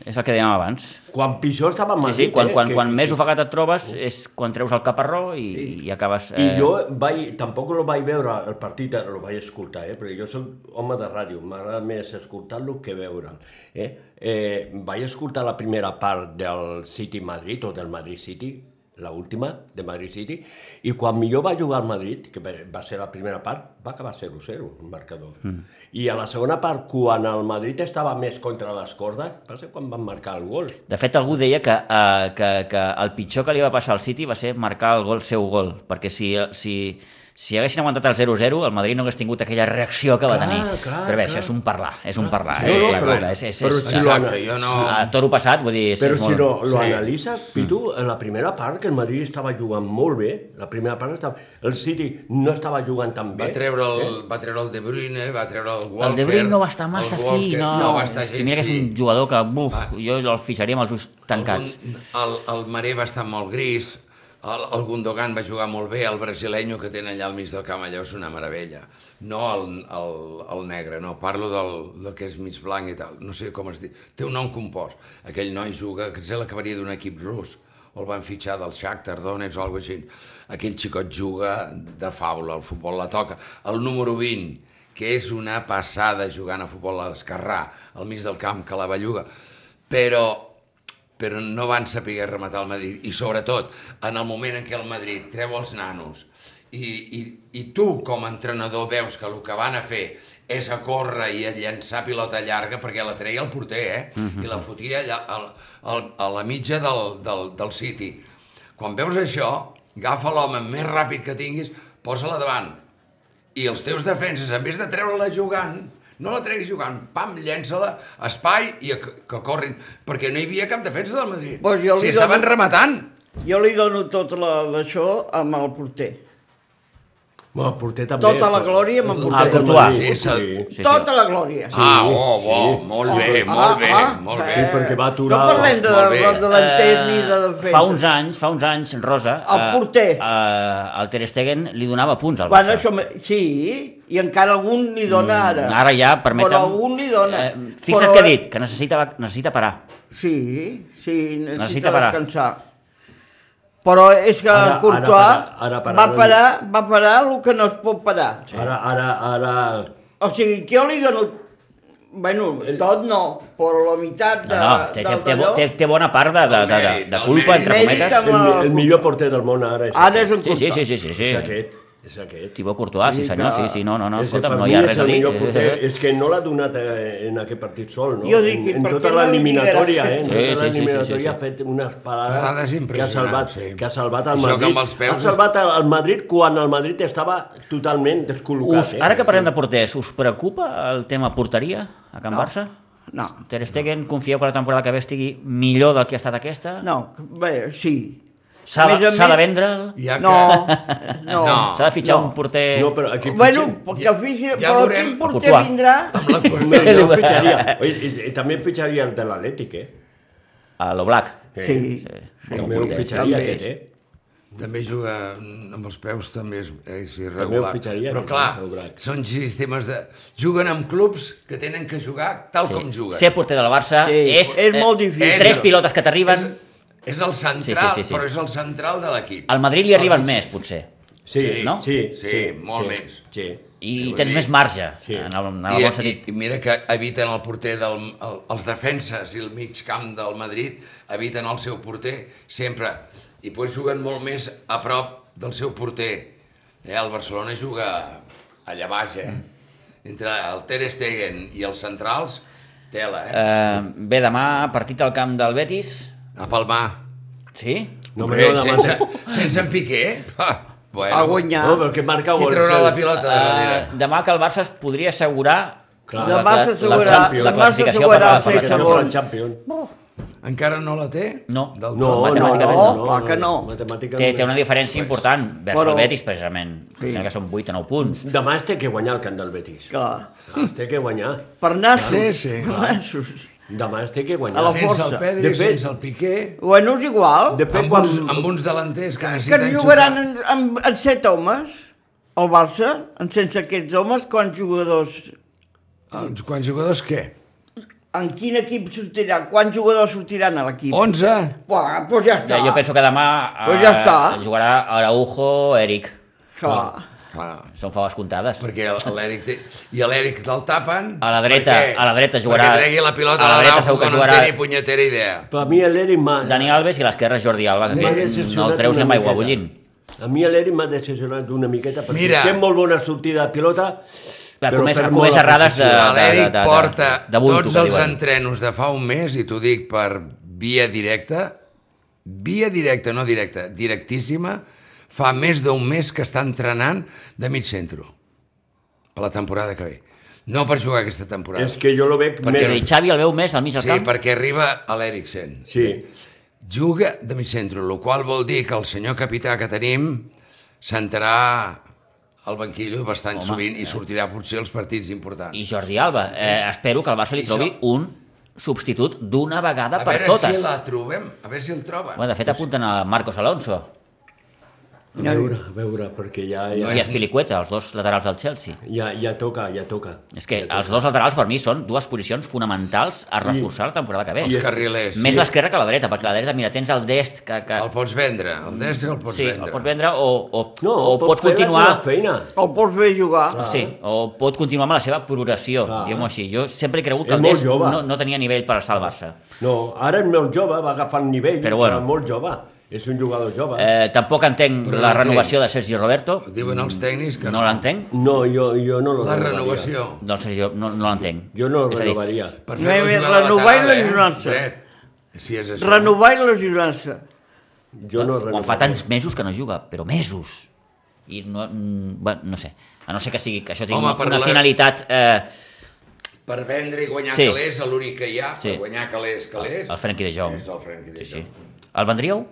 Speaker 1: és el que dèiem abans.
Speaker 4: Quan pitjor estava a
Speaker 1: Sí,
Speaker 4: Madrid,
Speaker 1: sí, quan,
Speaker 4: eh?
Speaker 1: quan,
Speaker 4: que-
Speaker 1: quan
Speaker 4: que-
Speaker 1: més ofegat et trobes és quan treus el caparró i, i acabes... eh,
Speaker 4: I jo vaig, tampoc el vaig veure el partit, el vaig escoltar, eh? perquè jo soc home de ràdio, m'agrada més escoltar-lo que veure'l. Eh? Eh, vaig escoltar la primera part del City Madrid, o del Madrid City, la última de Madrid City, i quan millor va jugar al Madrid, que va va ser la primera part, va acabar 0-0, el marcador. Mm. I a la segona part, quan el Madrid estava més contra les cordes, va ser quan van marcar el gol.
Speaker 1: De fet, algú deia que, eh, que, que el pitjor que li va passar al City va ser marcar el gol seu gol, perquè si, si, si haguessin aguantat el 0-0, el Madrid no hagués tingut aquella reacció que va
Speaker 4: Clar,
Speaker 1: tenir.
Speaker 4: clar,
Speaker 1: però bé,
Speaker 4: clar.
Speaker 1: això és un parlar, és un parlar.
Speaker 4: No,
Speaker 1: eh,
Speaker 4: no,
Speaker 1: clar,
Speaker 4: però-
Speaker 1: clar, és, és,
Speaker 4: però
Speaker 1: és,
Speaker 4: si
Speaker 1: és,
Speaker 4: lo-
Speaker 2: Exacte, jo no...
Speaker 1: a toro passat, vull dir... és-
Speaker 4: Però
Speaker 1: és
Speaker 4: si lo, lo
Speaker 2: sí.
Speaker 4: analitzas,
Speaker 1: Mm.
Speaker 4: Pitu, en la primera part, que el Madrid estava jugant molt bé, la primera part estava... El City no estava jugant tan bé.
Speaker 2: Va treure, el, va treure el De Bruyne, va treure el Walker...
Speaker 1: eh? El De Bruyne no va estar massa
Speaker 2: el
Speaker 1: fi,
Speaker 2: Walker,
Speaker 1: no.
Speaker 2: No va estar
Speaker 1: És que
Speaker 2: gens
Speaker 1: Mira que és
Speaker 2: fi.
Speaker 1: un jugador que, buf, jo el fitxaria amb els ulls tancats.
Speaker 2: Un- El, el Maré va estar molt gris, el, el Gundogan va jugar molt bé, el brasileño que tenen allà al mig del camp allò és una meravella. No el, el, el negre, no, parlo del, del que és mig blanc i tal, no sé com es diu. Té un nom compost. Aquell noi juga, que sé la que venia d'un equip rus, o el van fitxar del Shakhtar Donetsk o alguna cosa així. Aquell xicot juga de faula, el futbol la toca. El número 20, que és una passada jugant a futbol a l'esquerrà, al mig del camp, que la belluga. Però però no van saber rematar el Madrid i sobretot en el moment en què el Madrid treu els nanos i, i, i tu com a entrenador veus que el que van a fer és a córrer i a llançar pilota llarga perquè la treia el porter eh? i la fotia allà, al, al, a la mitja del, del, del City quan veus això agafa l'home més ràpid que tinguis posa-la davant i els teus defenses, en vez de treure-la jugant, no la treguis jugant, pam, llença-la, espai, i a- que corrin, perquè no hi havia cap defensa del Madrid.
Speaker 3: Pues jo li
Speaker 2: si
Speaker 3: dono-
Speaker 2: estaven rematant.
Speaker 3: Jo li dono tot la- d'això amb el porter.
Speaker 4: Bueno, el porter també. Ah,
Speaker 3: Tota la glòria me'n
Speaker 4: El
Speaker 3: porter.
Speaker 4: del
Speaker 1: Courtois.
Speaker 4: Madrid,
Speaker 2: Sí, sí.
Speaker 1: Sí, sí.
Speaker 3: Tota la glòria.
Speaker 2: Ah, oh, bo, molt bé,
Speaker 3: Ah,
Speaker 2: molt bé, molt bé.
Speaker 4: Sí, perquè va aturar-
Speaker 3: No parlem de,
Speaker 2: Molt
Speaker 3: de,
Speaker 2: bé.
Speaker 3: de delanter ni de
Speaker 1: Eh,
Speaker 3: defensa.
Speaker 1: fa uns anys, fa uns anys, Rosa,
Speaker 3: El
Speaker 1: eh,
Speaker 3: porter.
Speaker 1: eh, el Ter Stegen li donava punts al
Speaker 3: Bueno,
Speaker 1: Barça.
Speaker 3: això, me- sí, i encara algun li dona ara.
Speaker 1: Mm, Ara ja, permetem... Eh,
Speaker 3: Però algun li dona.
Speaker 1: fixa't
Speaker 3: Però-
Speaker 1: què he dit, que necessita, necessita parar.
Speaker 3: Sí, sí, necessita,
Speaker 1: Necessita
Speaker 3: necessita
Speaker 1: parar.
Speaker 3: descansar. Però és que
Speaker 4: Ara-
Speaker 3: ara,
Speaker 4: ara
Speaker 3: Courtois
Speaker 4: para- ara para
Speaker 3: va,
Speaker 4: la
Speaker 3: parar, va parar el que no es pot parar.
Speaker 4: Ara, ara, ara...
Speaker 3: O sigui, que jo li dono... Bueno, tot no, però la meitat de,
Speaker 1: Eh. No, no, té, té, té,
Speaker 3: del
Speaker 1: bo-
Speaker 3: d'allò...
Speaker 1: té, té bona part de, de, de, de, de culpa, entre
Speaker 3: Mèrit
Speaker 1: cometes.
Speaker 3: amb
Speaker 4: El,
Speaker 3: la-
Speaker 4: el millor porter del món ara és
Speaker 3: Ara és un
Speaker 1: Sí, sí,
Speaker 3: Courtois.
Speaker 1: sí, sí, sí, sí.
Speaker 4: És aquest, és aquest.
Speaker 1: Tibó Courtois, sí
Speaker 3: Vull dir
Speaker 1: senyor,
Speaker 3: que-
Speaker 1: sí, sí, no, no, no,
Speaker 4: És que
Speaker 1: escolta'm,
Speaker 4: per
Speaker 1: no
Speaker 4: mi
Speaker 1: hi ha
Speaker 4: és
Speaker 1: res a
Speaker 4: el
Speaker 1: dir.
Speaker 4: millor porter, és que no l'ha donat eh, en aquest partit sol, no?
Speaker 3: Jo dic, i
Speaker 4: en, en
Speaker 3: per
Speaker 4: tota
Speaker 3: què no li
Speaker 4: l'eliminatòria,
Speaker 3: diguera?
Speaker 4: eh? En
Speaker 1: Sí, sí, sí,
Speaker 4: tota
Speaker 1: sí, sí, sí.
Speaker 4: l'eliminatòria ha fet unes
Speaker 2: Parades
Speaker 4: parades que ha
Speaker 2: impressionants,
Speaker 4: salvat,
Speaker 2: sí.
Speaker 4: que ha salvat el
Speaker 2: Això que
Speaker 4: Madrid.
Speaker 2: amb els peus-
Speaker 4: Ha salvat el el Madrid quan el Madrid estava totalment
Speaker 1: Us,
Speaker 4: descol·locat. eh?
Speaker 1: ara que parlem de porters, us preocupa el tema porteria a Can Barça?
Speaker 3: No,
Speaker 1: Ter Stegen, confieu que la temporada que ve estigui millor del que ha estat aquesta?
Speaker 3: no, bé, sí.
Speaker 1: S'ha
Speaker 3: A més
Speaker 1: de,
Speaker 3: a
Speaker 1: s'ha de
Speaker 3: més-
Speaker 1: vendre'l?
Speaker 2: Ja que-
Speaker 3: No, no.
Speaker 2: No.
Speaker 1: S'ha de fitxar
Speaker 3: No.
Speaker 1: un porter...
Speaker 4: No, però aquí
Speaker 3: Bueno,
Speaker 4: fitxem-
Speaker 3: perquè fixi,
Speaker 2: ja
Speaker 3: però
Speaker 2: veurem. Ah,
Speaker 3: quin porter
Speaker 1: Courtois.
Speaker 3: vindrà?
Speaker 2: Amb la
Speaker 4: Hombre,
Speaker 2: corneta.
Speaker 4: jo fitxaria. Oi, i, i també fitxaria el de l'Atlètic, eh?
Speaker 1: A lo Black.
Speaker 3: Sí.
Speaker 4: També ho
Speaker 1: porter,
Speaker 4: fitxaria,
Speaker 3: també.
Speaker 4: aquest, eh?
Speaker 2: També juga amb els peus també és, és irregular.
Speaker 4: ho fitxaria,
Speaker 2: Però
Speaker 4: eh, el
Speaker 2: clar,
Speaker 4: Brac.
Speaker 2: són sistemes de... Juguen amb clubs que tenen que jugar tal com juguen.
Speaker 1: Ser porter del Barça
Speaker 3: Sí,
Speaker 1: és... eh,
Speaker 3: és molt difícil.
Speaker 1: Tres pilotes que t'arriben...
Speaker 2: És, és el central,
Speaker 1: Sí,
Speaker 2: sí,
Speaker 1: sí,
Speaker 2: sí,
Speaker 1: sí, sí.
Speaker 2: però és el central de l'equip.
Speaker 1: Al Madrid li arriben més, potser.
Speaker 4: Sí,
Speaker 1: no?
Speaker 4: sí,
Speaker 2: Sí, molt
Speaker 4: sí,
Speaker 2: més.
Speaker 4: Sí.
Speaker 1: I
Speaker 2: vull
Speaker 1: tens
Speaker 2: dir-
Speaker 1: més marge,
Speaker 4: Sí.
Speaker 1: en el, en
Speaker 2: I,
Speaker 1: el bon
Speaker 2: i,
Speaker 1: sentit.
Speaker 2: I mira que eviten el porter del... El, els defenses i el mig camp del Madrid eviten el seu porter sempre. I pues juguen molt més a prop del seu porter. Eh, el Barcelona juga allà baix, eh? Entre el Ter Stegen i els centrals, tela, eh?
Speaker 1: Eh, bé, demà partit al camp del Betis,
Speaker 2: A Palmar.
Speaker 1: sí?
Speaker 4: No,
Speaker 2: Hombre,
Speaker 4: però no demà-
Speaker 2: sense, sense en Piqué? Ah, bueno.
Speaker 3: A guanyar.
Speaker 4: No, però que marca eh?
Speaker 2: Qui
Speaker 4: gol.
Speaker 2: traurà
Speaker 4: sí.
Speaker 2: la pilota de darrere?
Speaker 1: Eh, demà que el Barça es podria assegurar
Speaker 4: Clar.
Speaker 1: la-
Speaker 3: Demà
Speaker 1: la- la-
Speaker 3: s'assegurarà-
Speaker 1: la- la
Speaker 4: demà
Speaker 1: classificació per la,
Speaker 3: s'assegurarà
Speaker 1: per
Speaker 3: ser
Speaker 1: la
Speaker 4: Que
Speaker 1: Champions.
Speaker 4: no
Speaker 3: segon.
Speaker 4: la Champions. No,
Speaker 2: Encara no la té?
Speaker 1: No.
Speaker 2: Del tot.
Speaker 4: no, no,
Speaker 1: matemàticament
Speaker 4: no,
Speaker 3: no, clar que no.
Speaker 4: Matemàticament
Speaker 1: Té,
Speaker 4: no.
Speaker 1: té una diferència important vers
Speaker 3: Però-
Speaker 1: el Betis, precisament. Sí. Sembla que són 8 o 9 punts.
Speaker 4: Demà es té que guanyar el camp del Betis.
Speaker 3: Clar.
Speaker 4: Es té que guanyar.
Speaker 3: Per nassos.
Speaker 2: Sí, sí.
Speaker 3: Per nassos.
Speaker 4: Demà es té que
Speaker 3: A
Speaker 4: guanyar.
Speaker 3: la
Speaker 2: Sense el
Speaker 3: força.
Speaker 2: Pedri,
Speaker 4: De fet-
Speaker 2: sense el Piqué...
Speaker 3: Bueno, és igual.
Speaker 4: De fet,
Speaker 2: Amb
Speaker 4: quan...
Speaker 2: uns, amb uns delanters que
Speaker 3: que
Speaker 2: necessiten
Speaker 3: en jugaran en, en, en set homes, el Barça, en sense aquests homes, quants jugadors...
Speaker 2: jugar... Quan jugadors què?
Speaker 3: En quin equip sortiran? Quants jugadors sortiran a l'equip? On...
Speaker 2: 11?
Speaker 3: Doncs pues ja està.
Speaker 1: Ja, Eh, jo penso que demà eh,
Speaker 3: Pues ja està.
Speaker 1: jugarà Araujo, Eric.
Speaker 3: Clar.
Speaker 2: Clar,
Speaker 1: Són faves comptades.
Speaker 2: perquè el- l'Eric té... I a l'Eric te'l tapen...
Speaker 1: A la dreta, a la dreta jugarà-
Speaker 2: Perquè tregui la pilota
Speaker 1: a la dreta
Speaker 2: l'Araujo,
Speaker 1: segur que
Speaker 2: que
Speaker 1: jugarà-
Speaker 2: No en té ni punyetera idea.
Speaker 4: Per mi l'Eri m'ha...
Speaker 1: Dani Alves i a l'esquerra Jordi Alves.
Speaker 4: m'ha
Speaker 1: que no
Speaker 4: decepcionat
Speaker 1: el treus ni
Speaker 4: una
Speaker 1: amb aigua
Speaker 4: miqueta.
Speaker 1: bullint.
Speaker 4: A mi l'Eri m'ha decepcionat una miqueta perquè
Speaker 2: Mira.
Speaker 4: té molt bona sortida de pilota,
Speaker 1: Ha
Speaker 4: Però
Speaker 1: comès,
Speaker 4: perd
Speaker 1: ha
Speaker 4: molt
Speaker 1: comès
Speaker 4: la
Speaker 1: errades de,
Speaker 4: posició.
Speaker 1: de, de, de,
Speaker 2: L'Eric
Speaker 1: de,
Speaker 2: porta
Speaker 1: de bulto,
Speaker 2: tots
Speaker 1: que
Speaker 2: els
Speaker 1: diuen.
Speaker 2: entrenos de fa un mes, i t'ho dic per via directa, via directa, no directa, directíssima, fa més d'un mes que està entrenant de mig centro per la temporada que ve. No per jugar aquesta temporada.
Speaker 4: és que jo lo veig
Speaker 2: Perquè
Speaker 4: més...
Speaker 1: I Xavi el veu més al mig del
Speaker 2: Sí,
Speaker 1: camp?
Speaker 2: perquè arriba a l'Eriksen.
Speaker 4: Sí,
Speaker 2: juga de mig centre, el qual vol dir que el senyor capità que tenim sentarà al banquillo bastant Home, sovint i sortirà potser els partits importants.
Speaker 1: eh. I Jordi Alba. Eh, espero que el Barça li
Speaker 2: I
Speaker 1: trobi
Speaker 2: jo-
Speaker 1: un substitut d'una vegada
Speaker 2: a
Speaker 1: per
Speaker 2: veure
Speaker 1: totes.
Speaker 2: si la trobem, a veure si el troben.
Speaker 1: Bueno, de fet, apunten a Marcos Alonso
Speaker 4: a veure, a veure, perquè ja... ja...
Speaker 1: i Azpilicueta, els dos laterals del Chelsea.
Speaker 4: Ja, ja toca, ja toca.
Speaker 1: És que ah, els dos laterals per mi són dues posicions fonamentals a reforçar la temporada que ve.
Speaker 2: Els carrilers.
Speaker 1: Més l'esquerra que la dreta, perquè la dreta, mira, tens el dest que... que...
Speaker 2: El pots vendre, el Dest el pots
Speaker 1: sí,
Speaker 2: vendre.
Speaker 1: el pots vendre o, o,
Speaker 4: No,
Speaker 1: o pot
Speaker 4: fer la seva
Speaker 1: continuar... Ah.
Speaker 4: Feina.
Speaker 3: El pots fer jugar.
Speaker 1: Sí, o pot continuar amb la seva progressió,
Speaker 4: Clar.
Speaker 1: diguem-ho així. Jo sempre he cregut que
Speaker 4: És
Speaker 1: el
Speaker 4: molt
Speaker 1: Dest
Speaker 4: jove. Ah.
Speaker 1: no, no tenia nivell per salvar-se.
Speaker 4: No, ara és molt jove, va agafar el nivell,
Speaker 1: Però bueno.
Speaker 4: era molt jove. És un jugador jove.
Speaker 1: Eh, tampoc entenc
Speaker 2: Però
Speaker 1: la
Speaker 2: l'entenc.
Speaker 1: renovació de Sergi Roberto,
Speaker 2: Diuen els tècnics que
Speaker 1: no l'entenc.
Speaker 4: No, jo, jo no lo
Speaker 2: La
Speaker 4: renovaria.
Speaker 2: renovació.
Speaker 1: Doncs Sergi, no, no l'entenc.
Speaker 4: Jo no
Speaker 1: És a
Speaker 4: lo
Speaker 1: dir,
Speaker 4: renovaria.
Speaker 2: Per
Speaker 3: Bé, bé,
Speaker 2: jugada
Speaker 3: renovar i
Speaker 2: lateral, eh?
Speaker 3: lesionar-se.
Speaker 2: Dret, Si és això.
Speaker 3: Renovar i lesionar-se.
Speaker 4: Jo no
Speaker 1: quan fa
Speaker 4: renovaria.
Speaker 1: tants mesos que no juga, però mesos. I no, mm, bueno, no sé, a no ser que sigui que això tingui
Speaker 2: Home,
Speaker 1: Home,
Speaker 2: per
Speaker 1: una
Speaker 2: la-
Speaker 1: finalitat... Eh,
Speaker 2: Per vendre i guanyar
Speaker 1: Sí.
Speaker 2: sí. calés, l'únic que hi ha,
Speaker 1: Sí.
Speaker 2: per guanyar calés, calés,
Speaker 1: el Frenkie de Jong.
Speaker 2: és el Frenkie de
Speaker 1: Sí, sí.
Speaker 2: Jong.
Speaker 1: El vendríeu?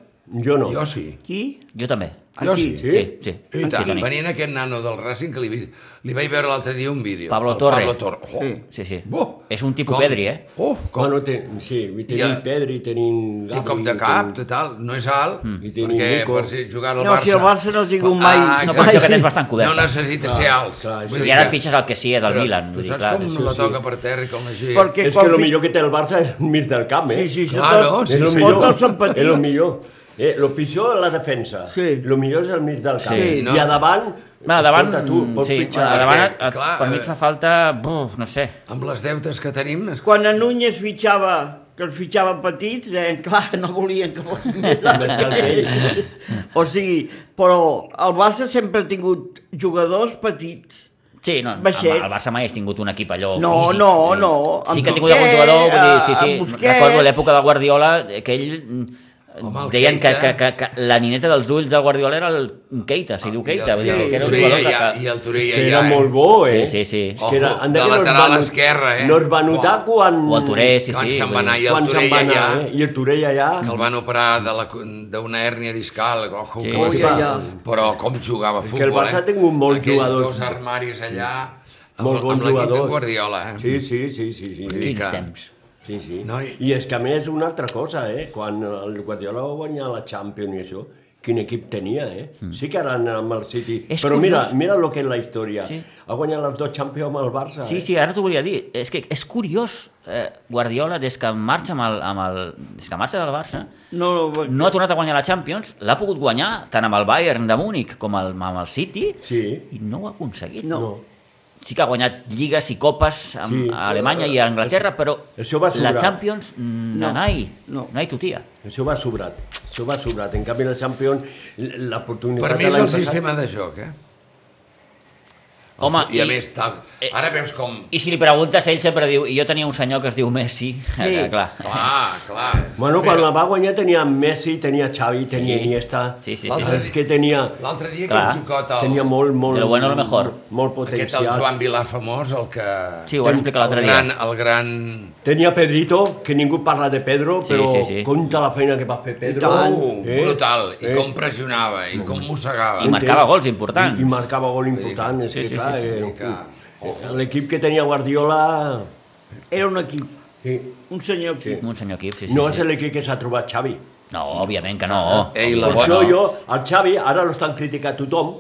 Speaker 4: Jo no.
Speaker 2: Jo sí.
Speaker 3: Qui?
Speaker 1: Jo també.
Speaker 2: Jo
Speaker 3: Aquí.
Speaker 2: sí.
Speaker 1: Sí, sí.
Speaker 2: I tant,
Speaker 1: Toni.
Speaker 2: venint aquest nano del Racing que li, vi- li vaig veure l'altre dia un vídeo.
Speaker 1: Pablo
Speaker 2: El
Speaker 1: Torre.
Speaker 2: Pablo Torre. Oh.
Speaker 1: Sí, sí.
Speaker 2: Oh.
Speaker 1: És un tipus
Speaker 2: Com-
Speaker 1: Pedri, eh?
Speaker 2: Oh,
Speaker 4: Com?
Speaker 2: com,
Speaker 4: Bueno, ten, sí, i tenim
Speaker 2: Ja.
Speaker 4: Pedri, tenim
Speaker 2: té
Speaker 4: Gabri...
Speaker 2: cop de cap,
Speaker 4: tenim-
Speaker 2: total, no és alt,
Speaker 4: I
Speaker 2: mm.
Speaker 4: tenim
Speaker 2: perquè
Speaker 4: Nico.
Speaker 2: per si jugar al
Speaker 3: No,
Speaker 2: Barça...
Speaker 3: si el Barça no ha tingut mai-
Speaker 2: Ah,
Speaker 3: no
Speaker 1: Una
Speaker 3: Exacte.
Speaker 1: posició que
Speaker 2: exacte.
Speaker 1: tens bastant
Speaker 2: No
Speaker 1: coberta.
Speaker 2: necessita ser alt.
Speaker 4: clar,
Speaker 2: Vull dir
Speaker 1: I ara
Speaker 2: que-
Speaker 1: et fitxes el que sí, eh, del
Speaker 2: però-
Speaker 1: Milan. Vull
Speaker 2: però
Speaker 1: dir,
Speaker 2: saps
Speaker 1: clar,
Speaker 2: com
Speaker 1: és-
Speaker 2: la toca per terra i com la gent...
Speaker 3: Perquè
Speaker 4: És
Speaker 3: quan
Speaker 4: que el
Speaker 3: fi-
Speaker 4: millor que té el Barça és el mig del camp, eh?
Speaker 3: Sí, sí, sí.
Speaker 2: Claro,
Speaker 3: tot-
Speaker 2: sí,
Speaker 4: És el
Speaker 2: sí.
Speaker 4: millor.
Speaker 3: Tots són
Speaker 4: És el
Speaker 3: petits.
Speaker 4: millor. Eh, lo pitjor és la defensa,
Speaker 3: Sí.
Speaker 4: lo millor és el mig del camp.
Speaker 3: Sí,
Speaker 4: I
Speaker 2: no?
Speaker 4: a davant,
Speaker 1: Va, davant,
Speaker 4: escolta, tu, pots
Speaker 1: sí,
Speaker 4: pitjar.
Speaker 1: a davant,
Speaker 2: perquè,
Speaker 1: a,
Speaker 2: clar,
Speaker 1: per mi
Speaker 2: eh,
Speaker 1: et fa falta, buf, no sé.
Speaker 2: Amb les deutes que tenim... Es...
Speaker 3: Quan a Núñez fitxava, que els fitxava petits, eh, clar, no volien que fos més
Speaker 4: Més que el
Speaker 3: alt. o sigui, però el Barça sempre ha tingut jugadors petits.
Speaker 1: Sí, no,
Speaker 3: Baixets.
Speaker 1: el, el Barça mai has tingut un equip allò
Speaker 3: No,
Speaker 1: físic.
Speaker 3: no,
Speaker 1: Eh,
Speaker 3: no.
Speaker 1: Sí
Speaker 3: Amb
Speaker 1: que ha tingut algun
Speaker 3: Piqué,
Speaker 1: jugador, vull dir, sí,
Speaker 3: eh,
Speaker 1: sí.
Speaker 3: amb Busquets.
Speaker 1: Recordo l'època del Guardiola, eh, que ell mm,
Speaker 2: Home, el
Speaker 1: deien que, que,
Speaker 2: Keita. Ah,
Speaker 1: que, que, la nineta dels ulls del Guardiola era el Keita, si diu Keita, vull dir,
Speaker 3: sí,
Speaker 1: que era un
Speaker 2: Torella
Speaker 1: jugador que...
Speaker 2: ja, I
Speaker 1: que...
Speaker 2: el Torella
Speaker 4: Que
Speaker 2: ja,
Speaker 4: era
Speaker 2: eh?
Speaker 4: molt bo, eh?
Speaker 1: Sí, sí, sí.
Speaker 4: Que era,
Speaker 2: Ojo,
Speaker 4: anda
Speaker 2: de
Speaker 4: que no es
Speaker 2: lateral
Speaker 4: va not-
Speaker 2: esquerra, eh?
Speaker 4: No es va notar
Speaker 2: Uau.
Speaker 4: quan...
Speaker 1: O el Toré, sí,
Speaker 2: Quan
Speaker 1: sí.
Speaker 2: se'n va
Speaker 1: vull dir.
Speaker 2: anar i el
Speaker 4: quan se'n
Speaker 2: Torella
Speaker 4: va anar,
Speaker 2: ja...
Speaker 4: eh? I el Torella ja...
Speaker 2: que el van operar de la- d'una hèrnia discal, ojo,
Speaker 1: Sí,
Speaker 2: que va
Speaker 1: sí,
Speaker 2: ser-
Speaker 3: ja.
Speaker 2: però com jugava a futbol,
Speaker 4: el Barça
Speaker 2: eh?
Speaker 4: ha tingut molts
Speaker 2: Aquells
Speaker 4: jugadors.
Speaker 2: dos armaris allà, amb,
Speaker 4: Molt bon
Speaker 2: amb l'equip de
Speaker 4: jugador.
Speaker 2: Guardiola, eh?
Speaker 4: Sí, sí, sí, sí, sí.
Speaker 2: Vull dir
Speaker 1: Quins
Speaker 2: que-
Speaker 1: temps.
Speaker 4: Sí, sí.
Speaker 2: No, i-
Speaker 4: i... I és que a més una altra cosa, eh? Quan el Guardiola va guanyar la Champions i això, quin equip tenia, eh? Sí que ara anava amb el City.
Speaker 1: Mm. És
Speaker 4: Però
Speaker 1: curiós.
Speaker 4: mira, mira el que és la història.
Speaker 1: Sí.
Speaker 4: Ha guanyat les dues Champions amb el Barça,
Speaker 1: Sí,
Speaker 4: eh?
Speaker 1: sí, ara t'ho volia dir. És que és curiós, eh, Guardiola, des que marxa amb el, amb el, des que marxa del Barça,
Speaker 3: No,
Speaker 1: no ha tornat a guanyar la Champions, l'ha pogut guanyar tant amb el Bayern de Múnich com el, amb el City,
Speaker 4: Sí.
Speaker 1: i no ho ha aconseguit.
Speaker 3: No.
Speaker 1: Sí que ha guanyat lligues i copes amb,
Speaker 4: Sí,
Speaker 1: a Alemanya
Speaker 4: eh,
Speaker 1: i a Anglaterra, però
Speaker 4: això va
Speaker 1: la
Speaker 4: sobrar.
Speaker 1: Champions, mm, no,
Speaker 3: No,
Speaker 1: nanai,
Speaker 3: no.
Speaker 1: nanai tutia.
Speaker 4: Això va sobrat. Això va sobrat. En canvi, la Champions, l- l'oportunitat...
Speaker 2: Per mi
Speaker 4: de
Speaker 2: és
Speaker 4: l'any
Speaker 2: el
Speaker 4: passat-
Speaker 2: sistema de joc, eh?
Speaker 1: Home,
Speaker 2: I, a més, tal.
Speaker 1: eh,
Speaker 2: ara veus com...
Speaker 1: i si li preguntes, ell sempre diu, i jo tenia un senyor que es diu Messi, sí. clar.
Speaker 2: Clar, clar.
Speaker 4: Bueno, quan la va guanyar tenia Messi, tenia Xavi, tenia
Speaker 1: Sí.
Speaker 4: Iniesta...
Speaker 1: Sí, sí, sí,
Speaker 4: L'altre
Speaker 2: sí.
Speaker 4: que ah, tenia...
Speaker 2: L'altre dia
Speaker 1: Clar,
Speaker 2: que el xicot, el,
Speaker 4: Tenia molt, molt...
Speaker 1: De lo bueno a lo mejor.
Speaker 4: Molt
Speaker 2: aquest el
Speaker 4: potencial.
Speaker 2: Joan Vilà famós, el que...
Speaker 1: Sí, ho vam explicar l'altre
Speaker 2: el
Speaker 1: dia.
Speaker 2: gran, El gran...
Speaker 4: Tenia Pedrito, que ningú parla de Pedro,
Speaker 1: Sí,
Speaker 4: però
Speaker 1: sí, sí.
Speaker 4: compta la feina que va fer Pedro. eh?
Speaker 2: Uh, brutal, i com pressionava, i com mossegava.
Speaker 1: I marcava gols importants.
Speaker 4: I, i marcava gol important, és
Speaker 1: Sí,
Speaker 4: que
Speaker 1: sí,
Speaker 4: clar,
Speaker 1: sí, sí.
Speaker 4: eh,
Speaker 2: Que-
Speaker 4: eh, l'equip que tenia Guardiola...
Speaker 3: era un equip,
Speaker 4: Sí.
Speaker 3: un senyor equip.
Speaker 1: Un senyor equip, sí, sí.
Speaker 4: No
Speaker 1: sí.
Speaker 4: és l'equip que s'ha trobat Xavi.
Speaker 1: No, òbviament que no.
Speaker 2: Ei, la
Speaker 4: Per
Speaker 1: Òbviament
Speaker 4: això
Speaker 1: que no.
Speaker 4: jo, el Xavi, ara l'estan criticant tothom.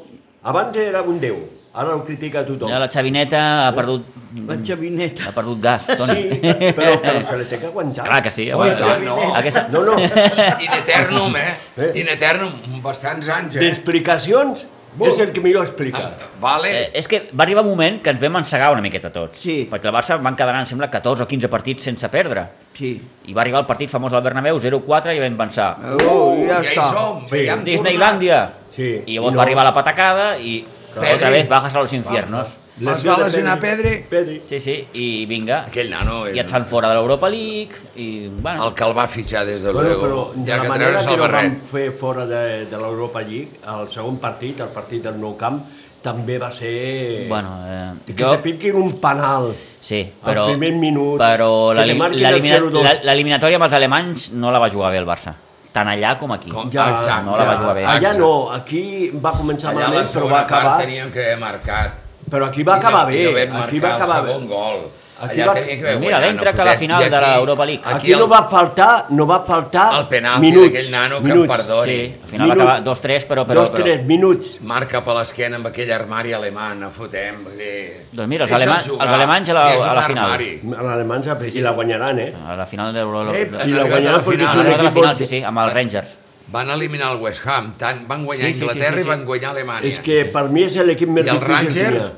Speaker 4: Abans era un déu, ara el critica tothom.
Speaker 1: Ja la Xavineta ha perdut,
Speaker 3: La
Speaker 1: ha
Speaker 3: xavineta.
Speaker 1: perdut gas, Toni.
Speaker 4: Sí, però, però se li té que aguantar.
Speaker 1: Clar que sí,
Speaker 2: Oi,
Speaker 1: home.
Speaker 2: tant, no.
Speaker 1: Aquesta...
Speaker 4: No, no,
Speaker 2: In eternum, eh?
Speaker 4: Eh.
Speaker 2: In eternum, bastants anys, eh? Ah,
Speaker 4: d'explicacions és el que millor explica.
Speaker 2: Vale.
Speaker 1: Eh, és que va arribar un moment que ens vam encegar una miqueta tots.
Speaker 3: Sí.
Speaker 1: Perquè el Barça van quedar, em sembla, 14 o 15 partits sense perdre.
Speaker 3: Sí.
Speaker 1: I va arribar el partit famós al Bernabéu, 0-4, i vam pensar...
Speaker 3: Oh, ja,
Speaker 2: ja
Speaker 3: està.
Speaker 2: hi som,
Speaker 4: Sí.
Speaker 2: ja hem
Speaker 1: Disneylandia!
Speaker 4: Sí.
Speaker 1: I llavors
Speaker 4: No.
Speaker 1: va arribar la patacada i...
Speaker 2: Pedri.
Speaker 1: Otra vez bajas a los infiernos.
Speaker 2: tornat. Es va lesionar Pedri,
Speaker 4: Pedri.
Speaker 1: Sí, sí, i vinga.
Speaker 2: aquell nano,
Speaker 1: I
Speaker 2: és
Speaker 1: et fan fora de l'Europa League, i... Bueno,
Speaker 2: el que el va fitxar des de
Speaker 4: Bueno,
Speaker 2: luego,
Speaker 4: però de
Speaker 2: ja
Speaker 4: la
Speaker 2: que
Speaker 4: manera
Speaker 2: treure's
Speaker 4: que
Speaker 2: el
Speaker 4: el van
Speaker 2: barret.
Speaker 4: fer fora de, de l'Europa League, el segon partit, el partit del Nou Camp, també va ser...
Speaker 1: bueno eh,
Speaker 4: que te piquin un penal.
Speaker 1: Sí,
Speaker 4: Al
Speaker 1: però...
Speaker 4: primer minut,
Speaker 1: Però
Speaker 4: que li
Speaker 1: l'elim-
Speaker 4: marquin
Speaker 1: l'elimina-
Speaker 4: el 0-2.
Speaker 1: la- l'eliminatòria amb els alemanys no la va jugar bé el Barça. Tant allà com aquí.
Speaker 2: Com? Exacte.
Speaker 1: No la va jugar bé.
Speaker 4: Allà
Speaker 2: Exacte.
Speaker 4: no, aquí va començar
Speaker 2: Allà la
Speaker 4: malament, però va
Speaker 2: segona
Speaker 4: acabar...
Speaker 2: part teníem que haver marcat.
Speaker 4: Però aquí
Speaker 2: I
Speaker 4: va
Speaker 2: no-
Speaker 4: acabar
Speaker 2: i
Speaker 4: bé,
Speaker 2: no vam
Speaker 4: aquí va
Speaker 2: marcar
Speaker 4: acabar
Speaker 2: el
Speaker 4: bé.
Speaker 2: segon gol.
Speaker 4: Aquí
Speaker 2: Allà
Speaker 4: va-
Speaker 2: tenia que haver
Speaker 1: Mira,
Speaker 2: guanyat,
Speaker 1: l'entra
Speaker 2: no
Speaker 1: que a la
Speaker 2: fotet.
Speaker 1: final
Speaker 2: I
Speaker 1: de
Speaker 2: aquí-
Speaker 1: l'Europa League.
Speaker 4: Aquí, no
Speaker 2: el-
Speaker 4: va faltar, no va faltar
Speaker 2: El penalti
Speaker 4: minuts,
Speaker 2: d'aquell nano que em
Speaker 4: minuts.
Speaker 2: perdoni.
Speaker 1: Sí, al final va
Speaker 4: Minuts.
Speaker 1: acabar 2-3, però... però,
Speaker 4: Dos, tres
Speaker 1: però...
Speaker 4: minuts.
Speaker 2: marca per l'esquena amb aquell armari alemany, no fotem. Vull dir...
Speaker 1: Doncs mira, els
Speaker 2: Deixa'l
Speaker 1: alemanys-
Speaker 2: jugar.
Speaker 1: els alemanys a la-
Speaker 2: és
Speaker 1: a
Speaker 2: un
Speaker 1: la final.
Speaker 2: armari.
Speaker 4: L'alemany sí, sí. i la guanyaran, eh?
Speaker 1: A la final de l'Europa...
Speaker 2: Ep,
Speaker 1: de-
Speaker 4: I
Speaker 2: han
Speaker 4: la
Speaker 2: arribat
Speaker 4: guanyaran
Speaker 2: a la
Speaker 4: perquè
Speaker 2: final.
Speaker 4: és un
Speaker 1: de la
Speaker 4: equip
Speaker 1: final,
Speaker 4: molt...
Speaker 1: sí, sí, amb els Rangers.
Speaker 2: Van eliminar el West Ham, tant, van guanyar
Speaker 1: Sí, sí,
Speaker 2: sí,
Speaker 1: sí,
Speaker 2: Anglaterra
Speaker 1: sí,
Speaker 2: sí,
Speaker 1: sí.
Speaker 2: i van guanyar Alemanya.
Speaker 4: És que per mi és l'equip més
Speaker 2: I el
Speaker 4: difícil que hi
Speaker 2: Rangers
Speaker 4: ha.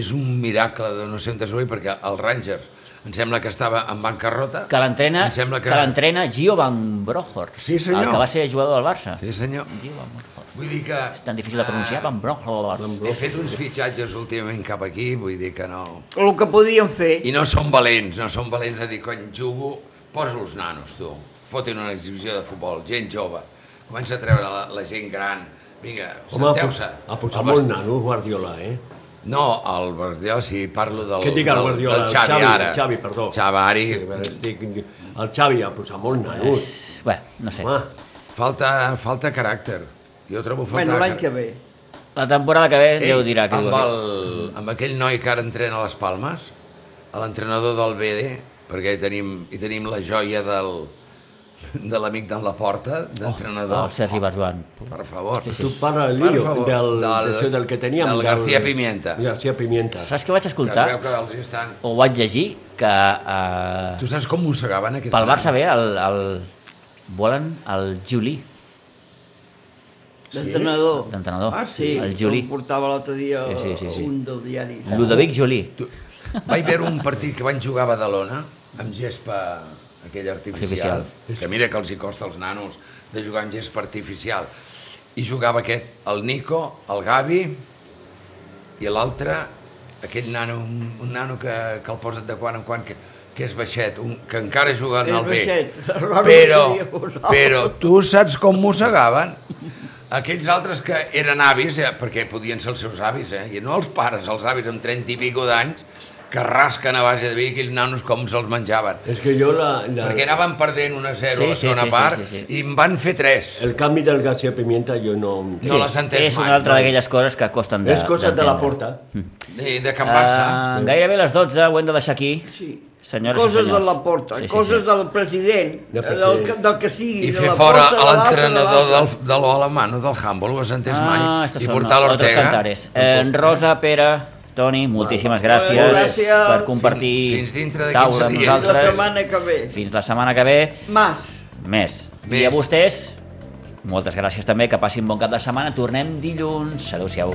Speaker 2: és un miracle de no sé on és avui, perquè el Rangers em sembla que estava en bancarrota.
Speaker 1: Que l'entrena
Speaker 2: Em sembla que-
Speaker 1: que l'entrena Gio Van Brohorst.
Speaker 2: Sí, senyor.
Speaker 1: El que va ser jugador del Barça.
Speaker 2: Sí, senyor.
Speaker 1: Gio Van Brohorst.
Speaker 2: Vull dir que...
Speaker 1: És tan difícil de pronunciar, Van Brohorst.
Speaker 2: He fet uns fitxatges últimament cap aquí, vull dir que no...
Speaker 3: El que podien fer...
Speaker 2: I no són valents, no són valents de dir, cony, jugo, posa els nanos, tu. Fotin una exhibició de futbol, gent jove. Comença a treure la, la gent gran. Vinga,
Speaker 4: Home, ha
Speaker 2: senteu-se.
Speaker 4: posat, ha posat
Speaker 2: El
Speaker 4: molt
Speaker 2: bast-
Speaker 4: nano, Guardiola, eh?
Speaker 2: No, el Guardiola, sí, parlo del...
Speaker 4: Què et dic el
Speaker 2: del-
Speaker 4: Guardiola?
Speaker 2: Del Xavi, ara.
Speaker 4: El Xavi, perdó.
Speaker 2: Xavi, ara.
Speaker 4: Sí, eh, però estic- El Xavi ha posat molt nano.
Speaker 1: És... Bé, no sé.
Speaker 4: Home,
Speaker 2: Falta, falta caràcter. Jo trobo falta
Speaker 3: Bueno, l'any
Speaker 2: caràcter.
Speaker 3: que ve.
Speaker 1: La temporada que ve Déu dirà què
Speaker 2: amb,
Speaker 1: diu.
Speaker 2: el, amb aquell noi que ara entrena a les Palmes, a l'entrenador del BD, perquè hi tenim, hi tenim la joia del, de l'amic d'en la porta,
Speaker 1: Oh,
Speaker 2: d'entrenador.
Speaker 1: Sergi Barjuan.
Speaker 2: Per favor. Sí,
Speaker 4: tu parla del
Speaker 2: Per
Speaker 4: Lillo,
Speaker 2: favor,
Speaker 4: del, del,
Speaker 2: del-
Speaker 4: això del que teníem.
Speaker 2: del García Pimienta.
Speaker 4: García Pimienta.
Speaker 1: Saps què vaig
Speaker 2: Que es
Speaker 1: escoltar?
Speaker 2: veu que els estan...
Speaker 1: o vaig llegir que eh,
Speaker 2: Tu saps com mossegaven aquests...
Speaker 1: pel
Speaker 2: nanos?
Speaker 1: Barça ve el, el, volen el Juli
Speaker 3: d'entrenador.
Speaker 1: D'entrenador.
Speaker 2: Ah,
Speaker 3: Sí,
Speaker 1: El
Speaker 3: que
Speaker 1: Juli.
Speaker 3: el portava l'altre dia
Speaker 1: Sí, sí, sí, sí.
Speaker 3: un del diari.
Speaker 2: Oh.
Speaker 1: Ludovic Juli.
Speaker 2: Tu- Vaig veure un partit que van jugar a Badalona amb gespa aquella artificial, artificial. que mira que els hi costa als nanos de jugar amb gespa artificial. I jugava aquest, el Nico, el Gavi i l'altre, aquell nano, un, un nano que, que el posa't de quan en quan, que, que és baixet, un, que encara juga en
Speaker 3: És
Speaker 2: el B.
Speaker 3: baixet, l'hora
Speaker 2: Però,
Speaker 3: que diríeu vosaltres.
Speaker 2: però tu saps com mossegaven? Aquells altres que eren avis, eh, perquè podien ser els seus avis, eh, i no els pares, els avis amb 30 i pico d'anys, que rasquen a base de vi aquells nanos com se'ls menjaven.
Speaker 4: És que jo la, la,
Speaker 2: Perquè anaven perdent una 0 sí, a
Speaker 1: Sí,
Speaker 2: la
Speaker 1: sí,
Speaker 2: segona
Speaker 1: sí, sí,
Speaker 2: part
Speaker 1: sí, sí.
Speaker 2: i en van fer 3.
Speaker 4: el canvi del García Pimienta jo no... em
Speaker 2: No l'has entès
Speaker 1: és
Speaker 2: mai.
Speaker 1: una altra d'aquelles coses que costen de
Speaker 4: és cosa de la
Speaker 1: d'entendre.
Speaker 4: porta.
Speaker 2: Hm. De, de Can Barça.
Speaker 1: Uh, gairebé les 12 ho hem de deixar aquí.
Speaker 3: Sí.
Speaker 1: Senyores i
Speaker 3: coses de
Speaker 1: senyors.
Speaker 3: la porta,
Speaker 1: Sí, sí,
Speaker 3: coses
Speaker 1: sí.
Speaker 3: del president, del,
Speaker 4: Del
Speaker 3: que-
Speaker 4: president.
Speaker 3: del que sigui.
Speaker 2: I
Speaker 3: de
Speaker 2: fer
Speaker 3: la
Speaker 2: fora a
Speaker 3: porta, de l'altre, de
Speaker 2: l'entrenador del,
Speaker 3: l'altre.
Speaker 2: de l'Alemano, del Humboldt, ho has entès
Speaker 1: Ah,
Speaker 2: mai?
Speaker 1: estos
Speaker 2: I
Speaker 1: són
Speaker 2: portar
Speaker 1: otros
Speaker 2: l'Ortega.
Speaker 1: cantares. Eh, Rosa, Pere, Toni, moltíssimes gràcies,
Speaker 3: Gràcies.
Speaker 1: per compartir
Speaker 2: Fins- fins dintre de
Speaker 1: taula
Speaker 2: 15
Speaker 1: amb
Speaker 2: dies.
Speaker 3: Fins la
Speaker 1: nosaltres.
Speaker 3: setmana que ve.
Speaker 1: Fins la setmana que ve,
Speaker 3: Mas.
Speaker 1: més.
Speaker 2: Més.
Speaker 1: I a vostès, moltes gràcies també, que passin bon cap de setmana. Tornem dilluns. Adéu-siau.